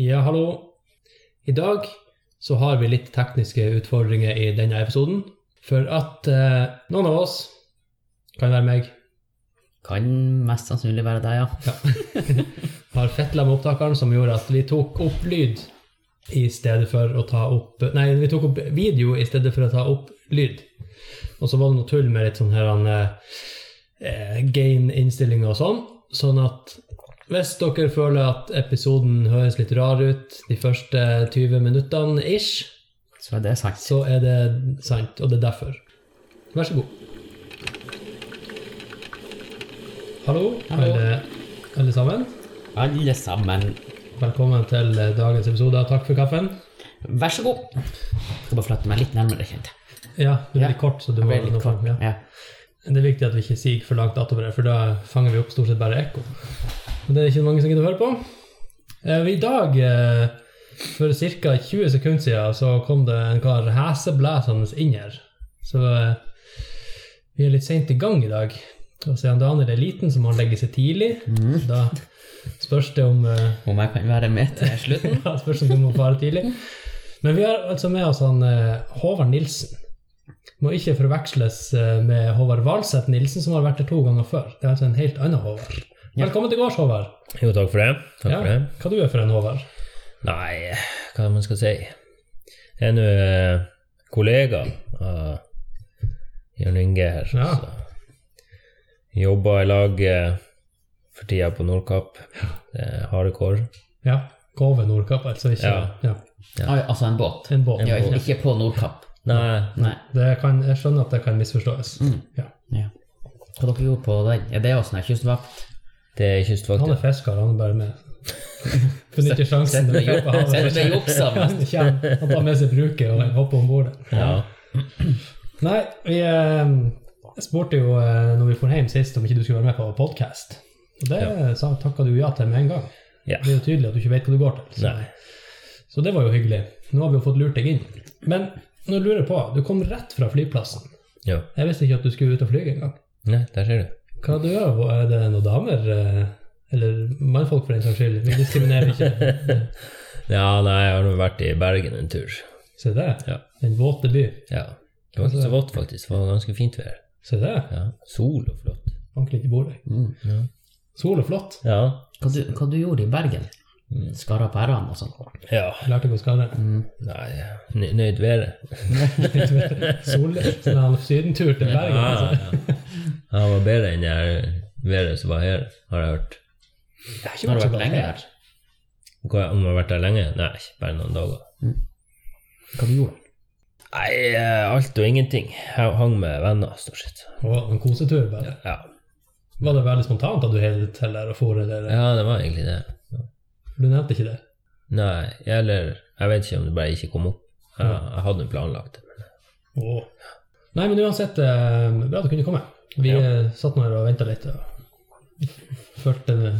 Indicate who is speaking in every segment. Speaker 1: Ja, hallo. I dag så har vi litt tekniske utfordringer i denne episoden. For at eh, noen av oss, kan være meg,
Speaker 2: Kan mest sannsynlig være deg, ja.
Speaker 1: har fetla med opptakeren som gjorde at vi tok opp lyd i stedet for å ta opp Nei, vi tok opp video i stedet for å ta opp lyd. Og så var det noe tull med litt sånn her han, eh, gain-innstillinger og sånn. Sånn at hvis dere føler at episoden høres litt rar ut de første 20 minuttene ish,
Speaker 2: Så er det sagt.
Speaker 1: så er det sant, og det er derfor. Vær så god. Hallo,
Speaker 2: Hallo.
Speaker 1: Alle, alle sammen.
Speaker 2: Alle sammen,
Speaker 1: Velkommen til eh, dagens episode av Takk for kaffen.
Speaker 2: vær så god. Skal bare flytte meg litt nærmere, kjente jeg.
Speaker 1: Ja, det blir
Speaker 2: Ja.
Speaker 1: kort, så du må
Speaker 2: Ble litt
Speaker 1: nå-
Speaker 2: kort.
Speaker 1: ja.
Speaker 2: Ja.
Speaker 1: Det er viktig at vi ikke siger for langt atover her, for da fanger vi opp stort sett bare ekko. Og det er ikke mange som gidder å høre på. Eh, I dag, eh, for ca. 20 sekunder siden, så kom det en kar heseblæsende inn her. Så eh, vi er litt sent i gang i dag. Og siden Daniel er liten, så må han legge seg tidlig. Da spørs det om eh,
Speaker 2: Om jeg kan være med til slutten?
Speaker 1: Ja, spørs om du må fare tidlig. Men vi har altså med oss han eh, Håvard Nilsen. Må ikke forveksles eh, med Håvard Valseth Nilsen, som har vært her to ganger før. Det er altså en helt annen Håvard.
Speaker 2: Ja.
Speaker 1: Velkommen til gårds, Håvard.
Speaker 3: Jo, takk for det. Takk
Speaker 1: Ja,
Speaker 3: for det.
Speaker 1: Hva du er for en Håvard?
Speaker 3: Nei, hva man skal si. Jeg er nå eh, kollega av Jørn Inge her.
Speaker 1: Ja.
Speaker 3: Så. Jobber i lag eh, for tida på Nordkapp. Det er harde kår.
Speaker 1: Ja, Gove Nordkapp, altså ikke
Speaker 3: Ja.
Speaker 1: ja,
Speaker 2: Oi, altså en båt.
Speaker 1: en båt.
Speaker 2: Ja, ikke, ikke på Nordkapp.
Speaker 3: Nei,
Speaker 2: Nei.
Speaker 1: Det kan, jeg skjønner at det kan misforstås. Ja.
Speaker 2: Ja. Hva dere gjorde på den? Ja, det er jo sånn her kystvakt.
Speaker 3: det er
Speaker 1: Han
Speaker 3: kystvakta.
Speaker 1: er fisker, han er bare med. Funnet ikke sjansen. til å
Speaker 2: Setter meg i
Speaker 1: kjøpe havet.
Speaker 2: setter meg i opp sammen.
Speaker 1: Det kommer. Han tar med seg bruket og hopper om bord.
Speaker 3: Ja.
Speaker 1: Nei, vi eh, spurte jo eh, når vi for hjem sist om ikke du skulle være med på podkast. Og det sa, takka du ja til med en gang.
Speaker 3: Ja.
Speaker 1: Det er jo tydelig at du ikke vet hva du går til. Så,
Speaker 3: Nei.
Speaker 1: så det var jo hyggelig. Nå har vi jo fått lurt deg inn. Men nå lurer jeg på, du kom rett fra flyplassen.
Speaker 3: ja.
Speaker 1: Jeg visste ikke at du skulle ut og flyge engang.
Speaker 3: Nei, der ser du.
Speaker 1: Hva du gjør du? Er det noen damer? eh, Eller mannfolk, for den saks skyld? Vi diskriminerer ikke.
Speaker 3: Ja, nei, jeg har nå vært i Bergen en tur.
Speaker 1: Se det.
Speaker 3: Ja.
Speaker 1: Den våte by.
Speaker 3: Ja. Det var ikke så vått, faktisk. Det var ganske fint vær.
Speaker 1: Se det.
Speaker 3: Ja. Sol og flott.
Speaker 1: Ordentlig ikke bor der.
Speaker 2: Mm.
Speaker 1: Sol og flott.
Speaker 3: Ja.
Speaker 2: Hva, du, hva du gjorde i Bergen?
Speaker 1: Mm.
Speaker 2: Skarra på ærene og sånn.
Speaker 3: ja.
Speaker 1: Lærte deg å skare.
Speaker 3: Nei, nø- nøyd været.
Speaker 1: Sol, sånn en sydentur til Bergen. Altså.
Speaker 3: Ja, ja. Han var bedre enn det her været som var her, har jeg hørt.
Speaker 1: Det har ikke
Speaker 2: Har du
Speaker 1: så
Speaker 2: vært
Speaker 1: bra
Speaker 2: lenge
Speaker 1: her.
Speaker 2: her?
Speaker 3: Hva- Om han har vært der lenge? Nei, bare noen dager.
Speaker 2: Hva du gjorde?
Speaker 3: Nei, eh, alt og ingenting. Jeg hang med venner, stort sett.
Speaker 1: Å, en kosetur, bare.
Speaker 3: Ja,
Speaker 1: Var det veldig spontant at du heiv deg til der og for? Eller?
Speaker 3: ja det var egentlig det.
Speaker 1: Du nevnte ikke det?
Speaker 3: Nei, eller Jeg vet ikke om det bare ikke kom opp. Jeg, jeg hadde planlagt det. men-
Speaker 1: Å. Nei, men uansett, eh, bra at du kunne komme. Vi
Speaker 3: Ja.
Speaker 1: eh, satt nå her og venta litt. og Følte det.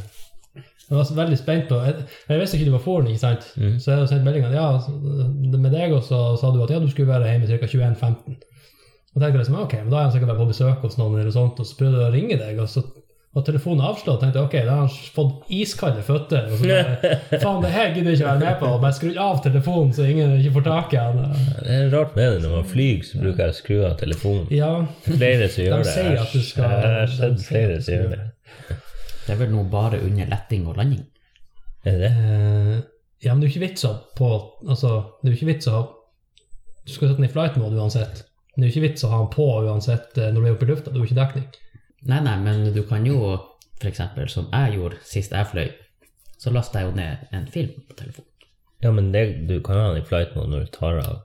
Speaker 1: Jeg var så veldig spent på Jeg, jeg visste ikke du var foren, ikke sant?
Speaker 3: Mhm.
Speaker 1: Så jeg sendte meldinga ja, så det- med deg, og så sa du at ja, du skulle være hjemme ca. 21.15. Og tenkte jeg liksom, ok, men da er han sikkert vært på besøk hos noen, eller noe sånt, og så prøvde jeg å ringe deg, og så var telefonen avslått. tenkte jeg, ok, da har han fått iskalde føtter. Og så bare, faen, det her gidder jeg ikke være med på. Bare skru av telefonen, så ingen ikke får tak i han.
Speaker 3: Det er rart med det når man flyr, så bruker jeg å skru av telefonen.
Speaker 1: Ja,
Speaker 3: Flere som gjør det.
Speaker 1: sier
Speaker 3: Jeg-
Speaker 1: at du skal-
Speaker 3: Jeg har
Speaker 1: de
Speaker 3: sett
Speaker 1: sier at
Speaker 3: flere
Speaker 1: du
Speaker 3: som
Speaker 1: skal
Speaker 3: gjør
Speaker 1: gjøre
Speaker 3: det.
Speaker 2: Det er vel nå bare under letting og landing.
Speaker 3: Er det?
Speaker 1: Eh, ja, men det er jo ikke vits å på Altså, det er jo ikke vits å ha Du skal sette den i flight mode uansett. Men det er jo ikke vits å ha den på uansett eh, når du er oppe i lufta. Det er jo ikke dekning.
Speaker 2: Nei, nei, men du kan jo, for eksempel, som jeg gjorde sist jeg fløy, så lastet jeg jo ned en film på telefonen.
Speaker 3: Ja, men det, du kan ha den i flight mode når du tar av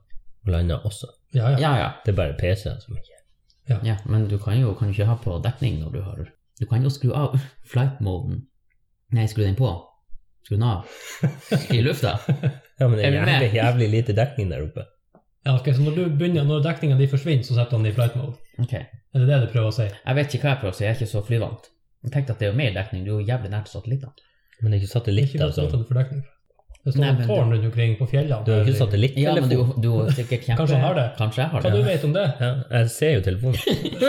Speaker 3: og lander også.
Speaker 1: Ja, ja.
Speaker 2: Ja, ja,
Speaker 3: Det er bare PC-en som ikke
Speaker 2: ja, men du kan jo kan du ikke ha på dekning når du har Du kan jo skru av flight-moden. Nei, skru den på. Skru den av. I lufta.
Speaker 3: Ja, men det er
Speaker 2: Er du med?
Speaker 3: jævlig, jævlig lite dekning der oppe.
Speaker 1: ja ok, Så når, du begynner- når dekninga di forsvinner, så setter du den i flight mode?
Speaker 2: Ok. Jeg
Speaker 1: Er det det du prøver å si?
Speaker 2: vet ikke hva jeg prøver å si, jeg er ikke så flyvant. Jeg tenkte at det er jo mer dekning, du er jo jævlig nært satellittene.
Speaker 3: Men det er
Speaker 1: Det er
Speaker 3: ikke
Speaker 1: ikke
Speaker 3: satellitter og
Speaker 1: det
Speaker 3: sånn.
Speaker 1: som er for dekning. Det står
Speaker 2: Nei,
Speaker 1: noen
Speaker 2: men
Speaker 1: tårn
Speaker 2: du-
Speaker 1: rundt omkring på fjellene.
Speaker 3: Du har jo ikke
Speaker 2: Ja, men du,
Speaker 3: satellittelefon?
Speaker 2: du har sikkert kjempe...
Speaker 1: Kanskje jeg har det.
Speaker 2: Kanskje jeg har
Speaker 1: Hva du
Speaker 2: det.
Speaker 1: vet om det?
Speaker 3: Ja, jeg ser jo telefonen.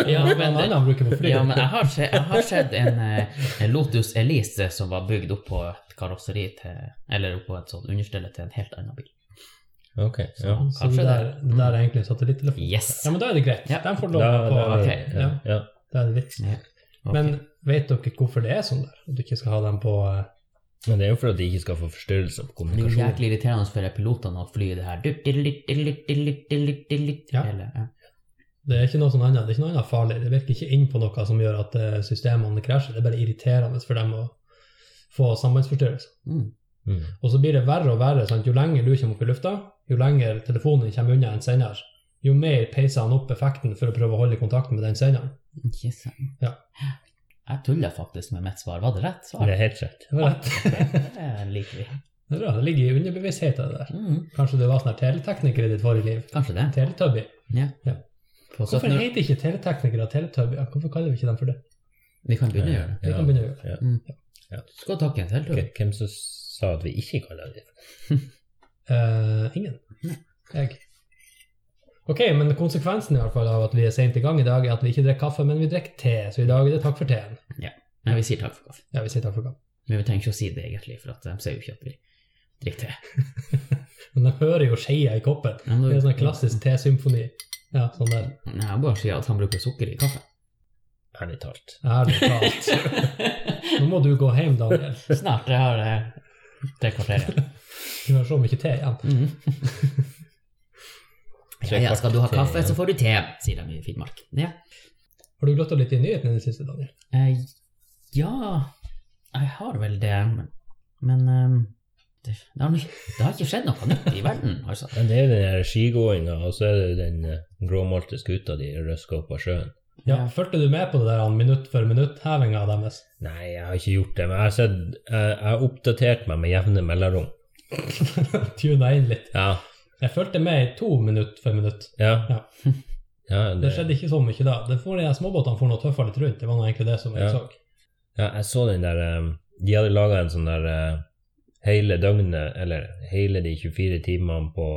Speaker 2: Ja,
Speaker 1: Hva
Speaker 2: men,
Speaker 1: noen andre bruker på fly?
Speaker 2: ja, men jeg har sett, jeg har sett en, eh, en Lotus Elise som var bygd opp på et karosseri til Eller oppå et sånt understelle til en helt annen bil.
Speaker 3: Ok, ja.
Speaker 1: Så det
Speaker 2: kanskje
Speaker 1: der,
Speaker 2: det.
Speaker 1: det der er egentlig satellittelefon?
Speaker 2: Yes!
Speaker 1: Ja, men da er det greit.
Speaker 2: Ja.
Speaker 1: De får lov
Speaker 3: Da,
Speaker 1: på
Speaker 3: da,
Speaker 2: ok,
Speaker 3: ja,
Speaker 1: ja.
Speaker 3: ja.
Speaker 1: Da er det viktigst.
Speaker 2: Ja, ok.
Speaker 1: Men vet dere hvorfor det er sånn der? At du ikke skal ha dem på eh,
Speaker 3: Men det er jo for at de ikke skal få forstyrrelser
Speaker 2: Det er
Speaker 3: på
Speaker 2: jo
Speaker 3: kommunikasjonen.
Speaker 2: jæklig irriterende for pilotene å fly det her du, du, du, du, du, du, du, du, du, du, du,
Speaker 1: Ja.
Speaker 2: hele- ja.
Speaker 1: Det er ikke noe sånn annet, det er ikke noe annet farlig. Det virker ikke inn på noe som gjør at eh, systemene krasjer. Det er bare irriterende for dem å få sambandsforstyrrelser.
Speaker 2: Mm.
Speaker 3: Mm.
Speaker 1: Og så blir det verre og verre. Sant? Jo lenger du kommer opp i lufta, jo lenger telefonen kommer unna en sender, jo mer peiser han opp effekten for å prøve å holde kontakten med den senderen.
Speaker 2: Ikke sant.
Speaker 1: Ja.
Speaker 2: Jeg tulla faktisk med mitt svar. Var det rett svar?
Speaker 3: Det er helt rett.
Speaker 1: Det var rett.
Speaker 2: Det liker vi.
Speaker 1: Det er bra, det ligger i underbevisstheten det der.
Speaker 2: Mm.
Speaker 1: Kanskje du var sånn her teletekniker i ditt forrige liv?
Speaker 2: Kanskje det.
Speaker 1: Teletubby.
Speaker 2: På
Speaker 1: Hvorfor
Speaker 2: 1700
Speaker 1: heter ikke teleteknikere teletubbyer? Hvorfor kaller vi ikke dem for det?
Speaker 2: Vi kan begynne å gjøre det.
Speaker 1: Vi kan begynne å gjøre det.
Speaker 2: Skal takke en selv, tror jeg.
Speaker 3: Ok, Hvem som sa at vi ikke kaller det
Speaker 1: Eh, ingen. Jeg. Ok, men konsekvensen i hvert fall av at vi er sent i gang i dag, er at vi ikke drikker kaffe, men vi drikker te. Så i dag er det takk for teen.
Speaker 2: Nei, vi sier takk for kaffe.
Speaker 1: Ja, vi sier takk for kaffe.
Speaker 2: Men vi trenger ikke å si det egentlig, for at de ser jo ikke at vi drikker te.
Speaker 1: Men de hører jo skeia i koppen.
Speaker 2: Men
Speaker 1: Det
Speaker 2: nå-
Speaker 1: er en sånn klassisk tesymfoni. Ja, sånn der.
Speaker 2: Nei, Jeg bare sier at han bruker sukker i kaffe.
Speaker 3: Ærlig talt.
Speaker 1: Ærlig talt. Nå må du gå hjem, Daniel.
Speaker 2: Snart. Jeg har eh, tre kvarter igjen.
Speaker 1: Du har så mye te igjen.
Speaker 2: Mm.
Speaker 3: Tre
Speaker 2: Ja, ja, skal du ha
Speaker 3: kvart te,
Speaker 2: kaffe,
Speaker 3: ja.
Speaker 2: så får du te, sier de i Finnmark. Ja,
Speaker 1: Har du gløtta litt i nyhetene i det siste, Daniel?
Speaker 2: eh, ja jeg har vel det, men, men eh, det, det, har, nok- det har ikke skjedd noe nytt i verden, altså.
Speaker 3: Men det er jo den der skigåinga, og så er det jo den eh, gråmalte skuta de røsker opp av sjøen.
Speaker 1: Ja, Fulgte du med på det der han, minutt for minutt-hevinga deres?
Speaker 3: Nei, jeg har ikke gjort det, men jeg har, sett, jeg, jeg har oppdatert meg med jevne mellomrom.
Speaker 1: Tuna inn litt.
Speaker 3: Ja,
Speaker 1: Jeg fulgte med i to minutt for minutt.
Speaker 3: ja.
Speaker 1: Ja.
Speaker 3: ja
Speaker 1: Det
Speaker 3: det,
Speaker 1: skjedde ikke så mye da. Det får de her småbåtene får noe tøffa litt rundt. Det var nå egentlig det som jeg
Speaker 3: Ja.
Speaker 1: så.
Speaker 3: ja, jeg så den der eh, De hadde laga en sånn der eh, hele døgnet, eller hele de 24 timene på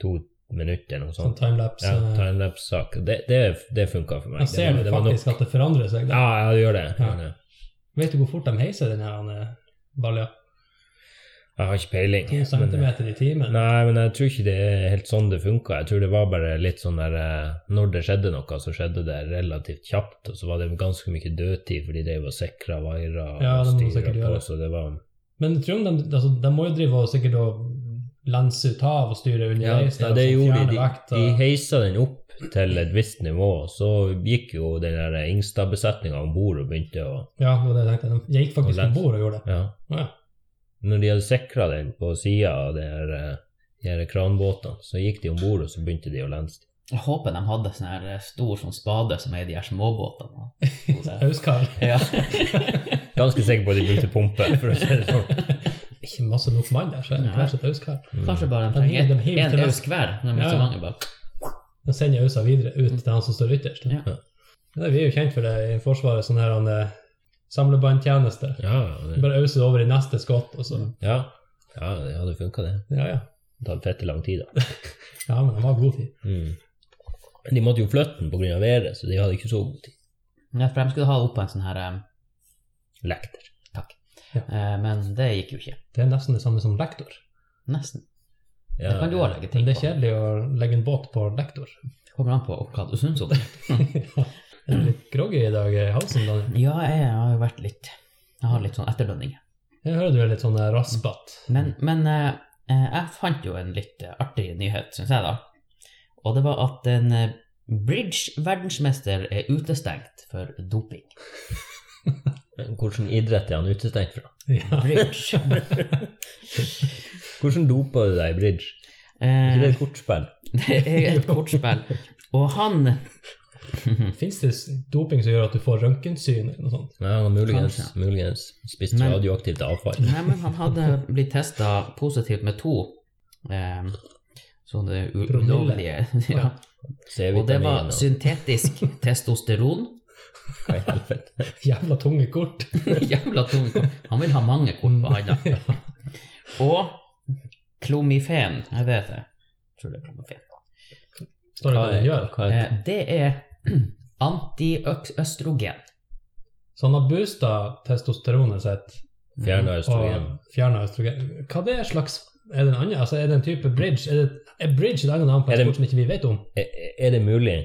Speaker 3: to minutter, eller noe
Speaker 1: Sånn
Speaker 3: sånt.
Speaker 1: timelapse.
Speaker 3: Ja, Timelapse-sak. Det, det, det funka for meg.
Speaker 1: jeg ser
Speaker 3: det,
Speaker 1: du
Speaker 3: var- det var nok.
Speaker 1: faktisk at det forandrer seg. da.
Speaker 3: Ja, ja, det gjør det. eh,
Speaker 1: Ja.
Speaker 3: Gjør det.
Speaker 1: Vet du hvor fort de heiser den her eh, balja?
Speaker 3: Jeg har ikke peiling.
Speaker 1: To
Speaker 3: men- eh,
Speaker 1: centimeter i timen?
Speaker 3: Nei, men jeg tror ikke det er helt sånn det funka. Jeg tror det var bare litt sånn der eh, Når det skjedde noe, så skjedde det relativt kjapt, og så var det ganske mye dødtid, for de drev og sikra vaira
Speaker 1: Ja,
Speaker 3: og
Speaker 1: det må de
Speaker 3: styra
Speaker 1: sikkert
Speaker 3: på,
Speaker 1: gjøre.
Speaker 3: så det var
Speaker 1: Men tror du de, altså, de må jo drive og sikkert og lense ut av og styre
Speaker 3: Ja,
Speaker 1: underveis? der,
Speaker 3: ja det
Speaker 1: og så
Speaker 3: gjorde
Speaker 1: sånn fjerne
Speaker 3: de.
Speaker 1: vekt,
Speaker 3: De
Speaker 1: og-
Speaker 3: heisa den opp til et visst nivå, og så gikk jo den der Ingstad-besetninga om bord og begynte å
Speaker 1: Ja, det var det jeg tenkte. De gikk faktisk
Speaker 3: Og
Speaker 1: om
Speaker 3: lense.
Speaker 1: bord og gjorde det.
Speaker 3: Ja.
Speaker 1: Ja.
Speaker 3: Når de hadde sikra den på sida av det her, eh, de her kranbåtene, så gikk de om bord, og så begynte de å lense.
Speaker 2: Jeg håper de hadde sånn her eh, stor sånn spade som er i de her småbåtene. da.
Speaker 1: Hauskar.
Speaker 2: Ja.
Speaker 3: Ganske sikker på at de brukte pumpe, for å si det sånn.
Speaker 1: Ikke masse nok mann der, så jeg
Speaker 2: Nei.
Speaker 1: krasjer et hauskar.
Speaker 2: Kanskje bare
Speaker 1: De
Speaker 2: de
Speaker 1: hiver-
Speaker 2: trenger
Speaker 1: de hiver
Speaker 2: en
Speaker 1: til
Speaker 2: øsk hver. når De er
Speaker 1: Ja,
Speaker 2: så
Speaker 1: ja.
Speaker 2: mange bak.
Speaker 1: Da sender jeg USA videre ut til han som står ytterst.
Speaker 2: Ja.
Speaker 1: Ja, vi er jo kjent for det i Forsvaret, sånn her han, eh, samlebåndtjeneste.
Speaker 3: Ja, det,
Speaker 1: Bare auser over i neste skott, og så
Speaker 3: ja. ja, det hadde funka, det.
Speaker 1: Ja, ja.
Speaker 3: Det hadde fette lang tid, da.
Speaker 1: Ja, men de har god tid.
Speaker 3: Mm. Men de måtte jo flytte den pga. været, så de hadde ikke så god tid.
Speaker 2: Ja, for de skulle ha opp på en sånn her eh,
Speaker 3: Lekter.
Speaker 2: eh, Men det gikk jo ikke.
Speaker 1: Det er nesten det samme som lektor.
Speaker 2: Nesten.
Speaker 3: Ja,
Speaker 2: det kan du også legge
Speaker 1: Men
Speaker 2: ting
Speaker 1: det er
Speaker 2: på.
Speaker 1: kjedelig å legge en båt på lektor.
Speaker 2: Det kommer an på hva du syns om det.
Speaker 1: Er du litt groggy i dag i halsen, Daniel?
Speaker 2: Ja, jeg har jo vært litt Jeg har litt sånn etterdønninger.
Speaker 1: Jeg hører du er litt sånn eh,
Speaker 3: Mm.
Speaker 1: raspete.
Speaker 2: Men, men eh, eh, jeg fant jo en litt eh, artig nyhet, syns jeg, da. Og det var at en eh, bridge-verdensmester er utestengt for doping.
Speaker 3: Men Hvordan idrett er han utestengt fra?
Speaker 1: Ja.
Speaker 2: Bridge.
Speaker 3: Hvordan dopa du deg i bridge? Er ikke det
Speaker 2: Eh,
Speaker 3: et kortspill?
Speaker 2: det er et kortspill. Og han
Speaker 1: Fins det s- doping som gjør at du får røntgensyn eller noe sånt?
Speaker 3: Nei, han har muligens,
Speaker 2: Kanskje.
Speaker 3: muligens spist
Speaker 2: Men-
Speaker 3: radioaktivt avfall.
Speaker 2: Nei, men han hadde blitt testa positivt med to eh, sånne u-
Speaker 1: Promille.
Speaker 2: ulovlige ja. Og det var
Speaker 3: C-vitamin og
Speaker 2: syntetisk testosteron.
Speaker 3: hva i helvete.
Speaker 1: Jævla tunge kort.
Speaker 2: Jævla tung kort. Han vil ha mange kort på handa. Og klomifen. Jeg vet det. Jeg tror det er klomifen.
Speaker 1: Står det hva den gjør?
Speaker 3: Hva er
Speaker 2: Eh, det er antiøstrogen.
Speaker 1: Så han har boosta testosteronet sitt
Speaker 3: Fjerna østrogen.
Speaker 1: og fjerna østrogen. Hva det er slags Er det en annen? Altså, er det en type bridge? Er, det, er bridge et annet navn på en
Speaker 3: Er det-
Speaker 1: sport som ikke vi vet om?
Speaker 3: Er, er det mulig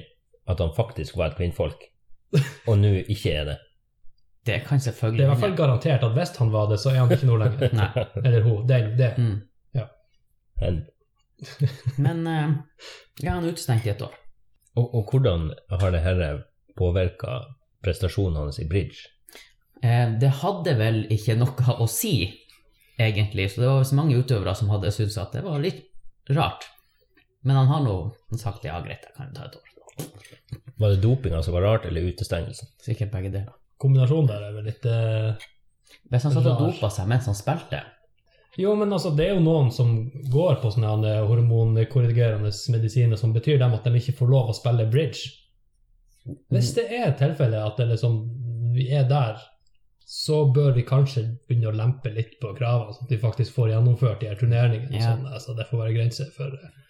Speaker 3: at han faktisk var et kvinnfolk, og nå ikke er det?
Speaker 2: Det
Speaker 1: Det er
Speaker 2: kan
Speaker 1: i
Speaker 2: selvfølgelig
Speaker 1: hvert fall garantert at hvis han var det, så er han ikke noe lenger.
Speaker 2: Nei.
Speaker 1: Eller hun. Det, er- det. er-
Speaker 2: Mm.
Speaker 3: Men,
Speaker 2: Men eh, ja, han er utestengt i et år.
Speaker 3: og, og hvordan har det dette påvirka prestasjonen hans i bridge?
Speaker 2: Eh, det hadde vel ikke noe å si, egentlig, så det var visst mange utøvere som hadde syntes at det var litt rart. Men han har nå sagt ja, greit, jeg kan ta et år.
Speaker 3: Var det dopinga som var rart, eller utestengelsen?
Speaker 2: Sikkert begge deler.
Speaker 1: Kombinasjonen der er vel litt eh,
Speaker 2: Hvis han satt og
Speaker 1: Rar.
Speaker 2: dopa seg mens han spilte
Speaker 1: Jo, men altså, det er jo noen som går på sånne her eh, hormonkorrigerende medisiner som betyr dem at de ikke får lov å spille bridge.
Speaker 2: Mm.
Speaker 1: Hvis det er tilfellet at det liksom, vi er der, så bør vi kanskje begynne å lempe litt på kravene, sånn at vi faktisk får gjennomført de her turneringene. og
Speaker 2: Ja.
Speaker 1: Sånn, altså, det får være grenser for eh,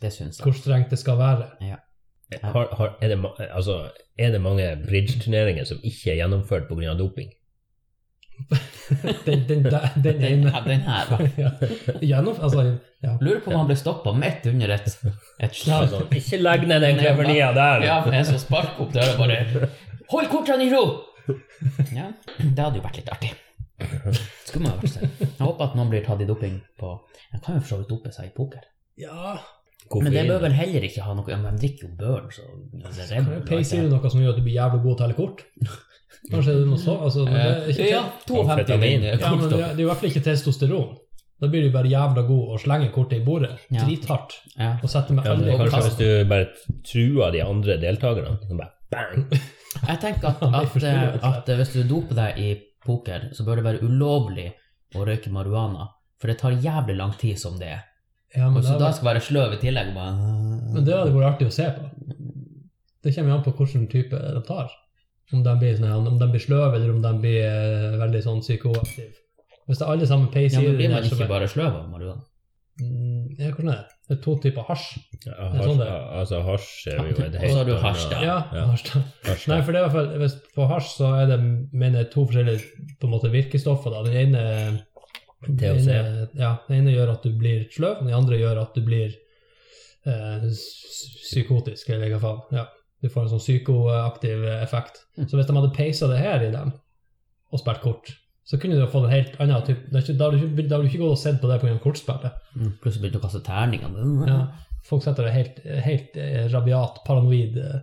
Speaker 2: Det syns jeg.
Speaker 1: hvor strengt det skal være.
Speaker 3: Har, har, er, det, ma- altså, er det mange bridge-turneringer som ikke er gjennomført pga. doping?
Speaker 1: Den, den, der- den
Speaker 2: Den,
Speaker 1: ene.
Speaker 2: ja, den her. da.
Speaker 1: Ja. Gjennom, altså, ja.
Speaker 2: Lurer på om han ble stoppa midt under et, et slag.
Speaker 1: sånn.
Speaker 3: Altså, ikke legg ned den klevernia der!
Speaker 2: Ja, for en som sparker opp døra, bare Hold kortene i ro! Ja, det hadde jo vært litt artig. Skulle man ha vært seg. Jeg håper at noen blir tatt i doping på Jeg kan jo for så vidt dope seg i poker.
Speaker 1: Ja,
Speaker 3: Koffein.
Speaker 2: Men det bør vel heller ikke ha noe Ja, men de drikker jo Burn, så det er
Speaker 1: kan jo
Speaker 2: Red Bull,
Speaker 1: peise i
Speaker 2: ikke?
Speaker 1: deg noe som gjør at du blir jævlig god til å telle kort. Kanskje det er noe så, altså, men det er
Speaker 2: Eh,
Speaker 1: ikke
Speaker 2: Ja, 52
Speaker 3: Amfetamin.
Speaker 2: min.
Speaker 1: Ja, men det er, det er i hvert fall ikke testosteron. Da blir du bare jævla god og slenger kortet i bordet.
Speaker 2: Ja.
Speaker 1: Drithardt.
Speaker 2: Ja.
Speaker 1: Og setter meg
Speaker 3: Ja, men
Speaker 1: aldri over
Speaker 3: kanskje hvis
Speaker 1: kassen.
Speaker 3: du bare truer de andre deltakerne, så bare bang!
Speaker 2: Jeg tenker at,
Speaker 1: Nei,
Speaker 2: at, eh,
Speaker 1: forstår jeg ikke.
Speaker 2: at hvis du doper deg i poker, så bør det være ulovlig å røyke marihuana. For det tar jævlig lang tid som det er.
Speaker 1: Ja, men,
Speaker 2: Og så da
Speaker 1: da,
Speaker 2: skal være sløv i tillegg. og Bare...
Speaker 1: men det hadde vært artig å se på. Det kommer jo an på hvilken type de tar. Om de blir, sånn, her- om de blir sløve, eller om de blir eh, veldig sånn psykoaktive. Hvis det er alle sammen
Speaker 2: Ja,
Speaker 1: peiser
Speaker 2: men
Speaker 1: i
Speaker 2: blir
Speaker 1: den
Speaker 2: man
Speaker 1: her, så
Speaker 2: ikke
Speaker 1: bare
Speaker 2: bare sløv av marihuana?
Speaker 1: Mm, Ja, hvordan er det? Det er to typer hasj.
Speaker 3: Ja,
Speaker 1: Det er sånn det
Speaker 3: hasj,
Speaker 1: er.
Speaker 3: altså, hasj er jo et
Speaker 2: Og
Speaker 3: helt
Speaker 2: så har du
Speaker 3: annet-
Speaker 2: hasj, da.
Speaker 1: Ja,
Speaker 3: ja.
Speaker 1: hasj. da.
Speaker 3: hasj,
Speaker 1: Nei,
Speaker 3: da.
Speaker 1: for det er i hvert fall- hvis på hasj så er det mener jeg, to forskjellige på en måte, virkestoffer. Da. Den ene, den
Speaker 3: THC.
Speaker 1: ene, ja, den ene gjør at du blir sløv, den andre gjør at du blir eh, s- psykotisk, eller hva faen. Ja. Du får en sånn psykoaktiv eh, effekt.
Speaker 2: Mm.
Speaker 1: Så hvis de hadde peisa det her i dem, og spilt kort, så kunne du ha fått en helt annen type Da hadde du ikke, da hadde du ikke gått og sett på det pga. kortspillet.
Speaker 2: Mm, Plutselig begynte å kaste terninger.
Speaker 1: Ja. Folk setter det helt, helt eh, rabiat, paranoid eh.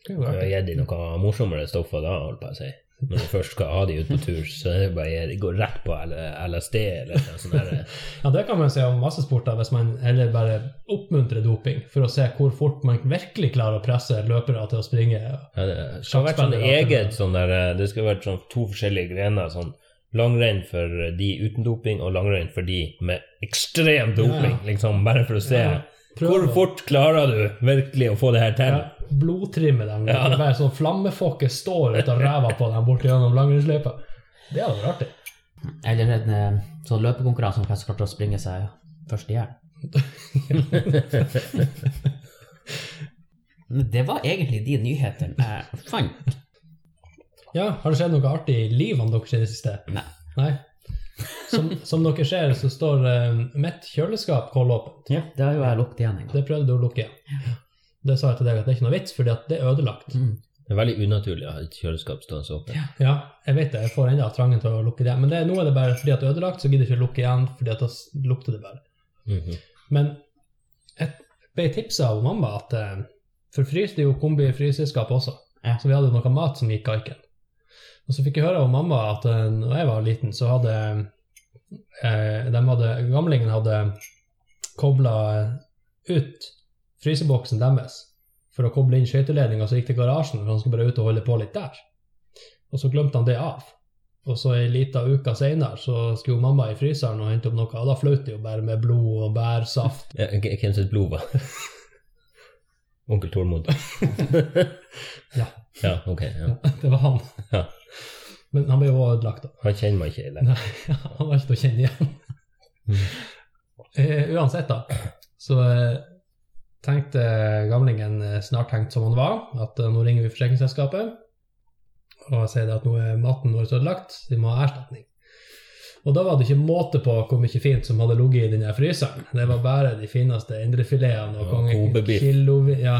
Speaker 1: Det kunne
Speaker 3: Du
Speaker 1: vært
Speaker 3: har
Speaker 1: artig.
Speaker 3: gitt de noe morsommere stoffer da, holdt jeg på å si. Når du først skal ha de ut på tur, så er det bare å gi- gå rett på L- LSD eller noe sånt. der.
Speaker 1: Ja, det kan man si om masse sporter, hvis man heller bare oppmuntrer doping, for å se hvor fort man virkelig klarer å presse løpere til å springe.
Speaker 3: Ja, det skal vært sånn eget sånn der Det skal vært sånn to forskjellige grener. sånn Langrenn for de uten doping, og langrenn for de med ekstrem doping.
Speaker 1: Ja.
Speaker 3: liksom Bare for å se
Speaker 1: Ja,
Speaker 3: hvor
Speaker 1: prøv det.
Speaker 3: fort klarer du virkelig å få det her til.
Speaker 1: Ja, blodtrimme dem. Ja. Bare sånn flammefokke står ut av ræva på dem borti gjennom langrennsløypa. Det hadde vært artig.
Speaker 2: Eller en eh, sånn løpekonkurranse om hvem som klarte å springe seg først i hjel. Men Det var egentlig de nyhetene jeg fant.
Speaker 1: Ja, har det skjedd noe artig i livene deres i det siste?
Speaker 2: Nei.
Speaker 1: Nei? Som, som dere ser, så står eh, mitt kjøleskap kollåpent.
Speaker 2: Ja, det har jo jeg lukket igjen en gang.
Speaker 1: Det prøvde du å lukke igjen. Det sa jeg til deg at det er ikke noe vits, fordi at det er ødelagt.
Speaker 2: Mm.
Speaker 3: Det er veldig unaturlig å ha et kjøleskap stående åpent.
Speaker 1: Ja, jeg vet det. Jeg får enda trangen til å lukke det igjen. Men det, nå er det bare fordi at det er ødelagt, så gidder jeg ikke å lukke igjen, fordi at da s- lukter det bare.
Speaker 3: Mhm.
Speaker 1: Men jeg ble tipsa av mamma at eh, For fryste jo kombi i fryseskapet også,
Speaker 2: Ja.
Speaker 1: så vi hadde noe mat som gikk kaiken. Og så fikk jeg høre av mamma at eh, når jeg var liten, så hadde eh, de hadde, Gamlingen hadde kobla ut fryseboksen deres for å koble inn skøyteledninga, så gikk til garasjen, for han skulle bare ut og holde på litt der. Og så glemte han det av. Og så ei lita uke seinere så skulle jo mamma i fryseren og hente opp noe, og da fløt det jo bare med blod og bærsaft.
Speaker 3: Ja, k- hvem sitt blod var Onkel Tormod.
Speaker 1: Ja.
Speaker 3: ja. Ok. Ja.
Speaker 1: Det var han.
Speaker 3: Ja.
Speaker 1: Men han ble jo ødelagt, da.
Speaker 3: Han kjenner meg ikke i det.
Speaker 1: Nei, han var ikke til å kjenne igjen. eh, uansett, da, så eh, tenkte gamlingen eh, snart tenkt som han var, at eh, nå ringer vi forsikringsselskapet og sier det at nå er maten vår ødelagt, vi må ha erstatning. Og da var det ikke måte på hvor mye fint som hadde ligget i den der fryseren. Det var bare de fineste indrefiletene og
Speaker 3: Ja,
Speaker 1: konge,
Speaker 3: kobebiff.
Speaker 1: kilovi, ja,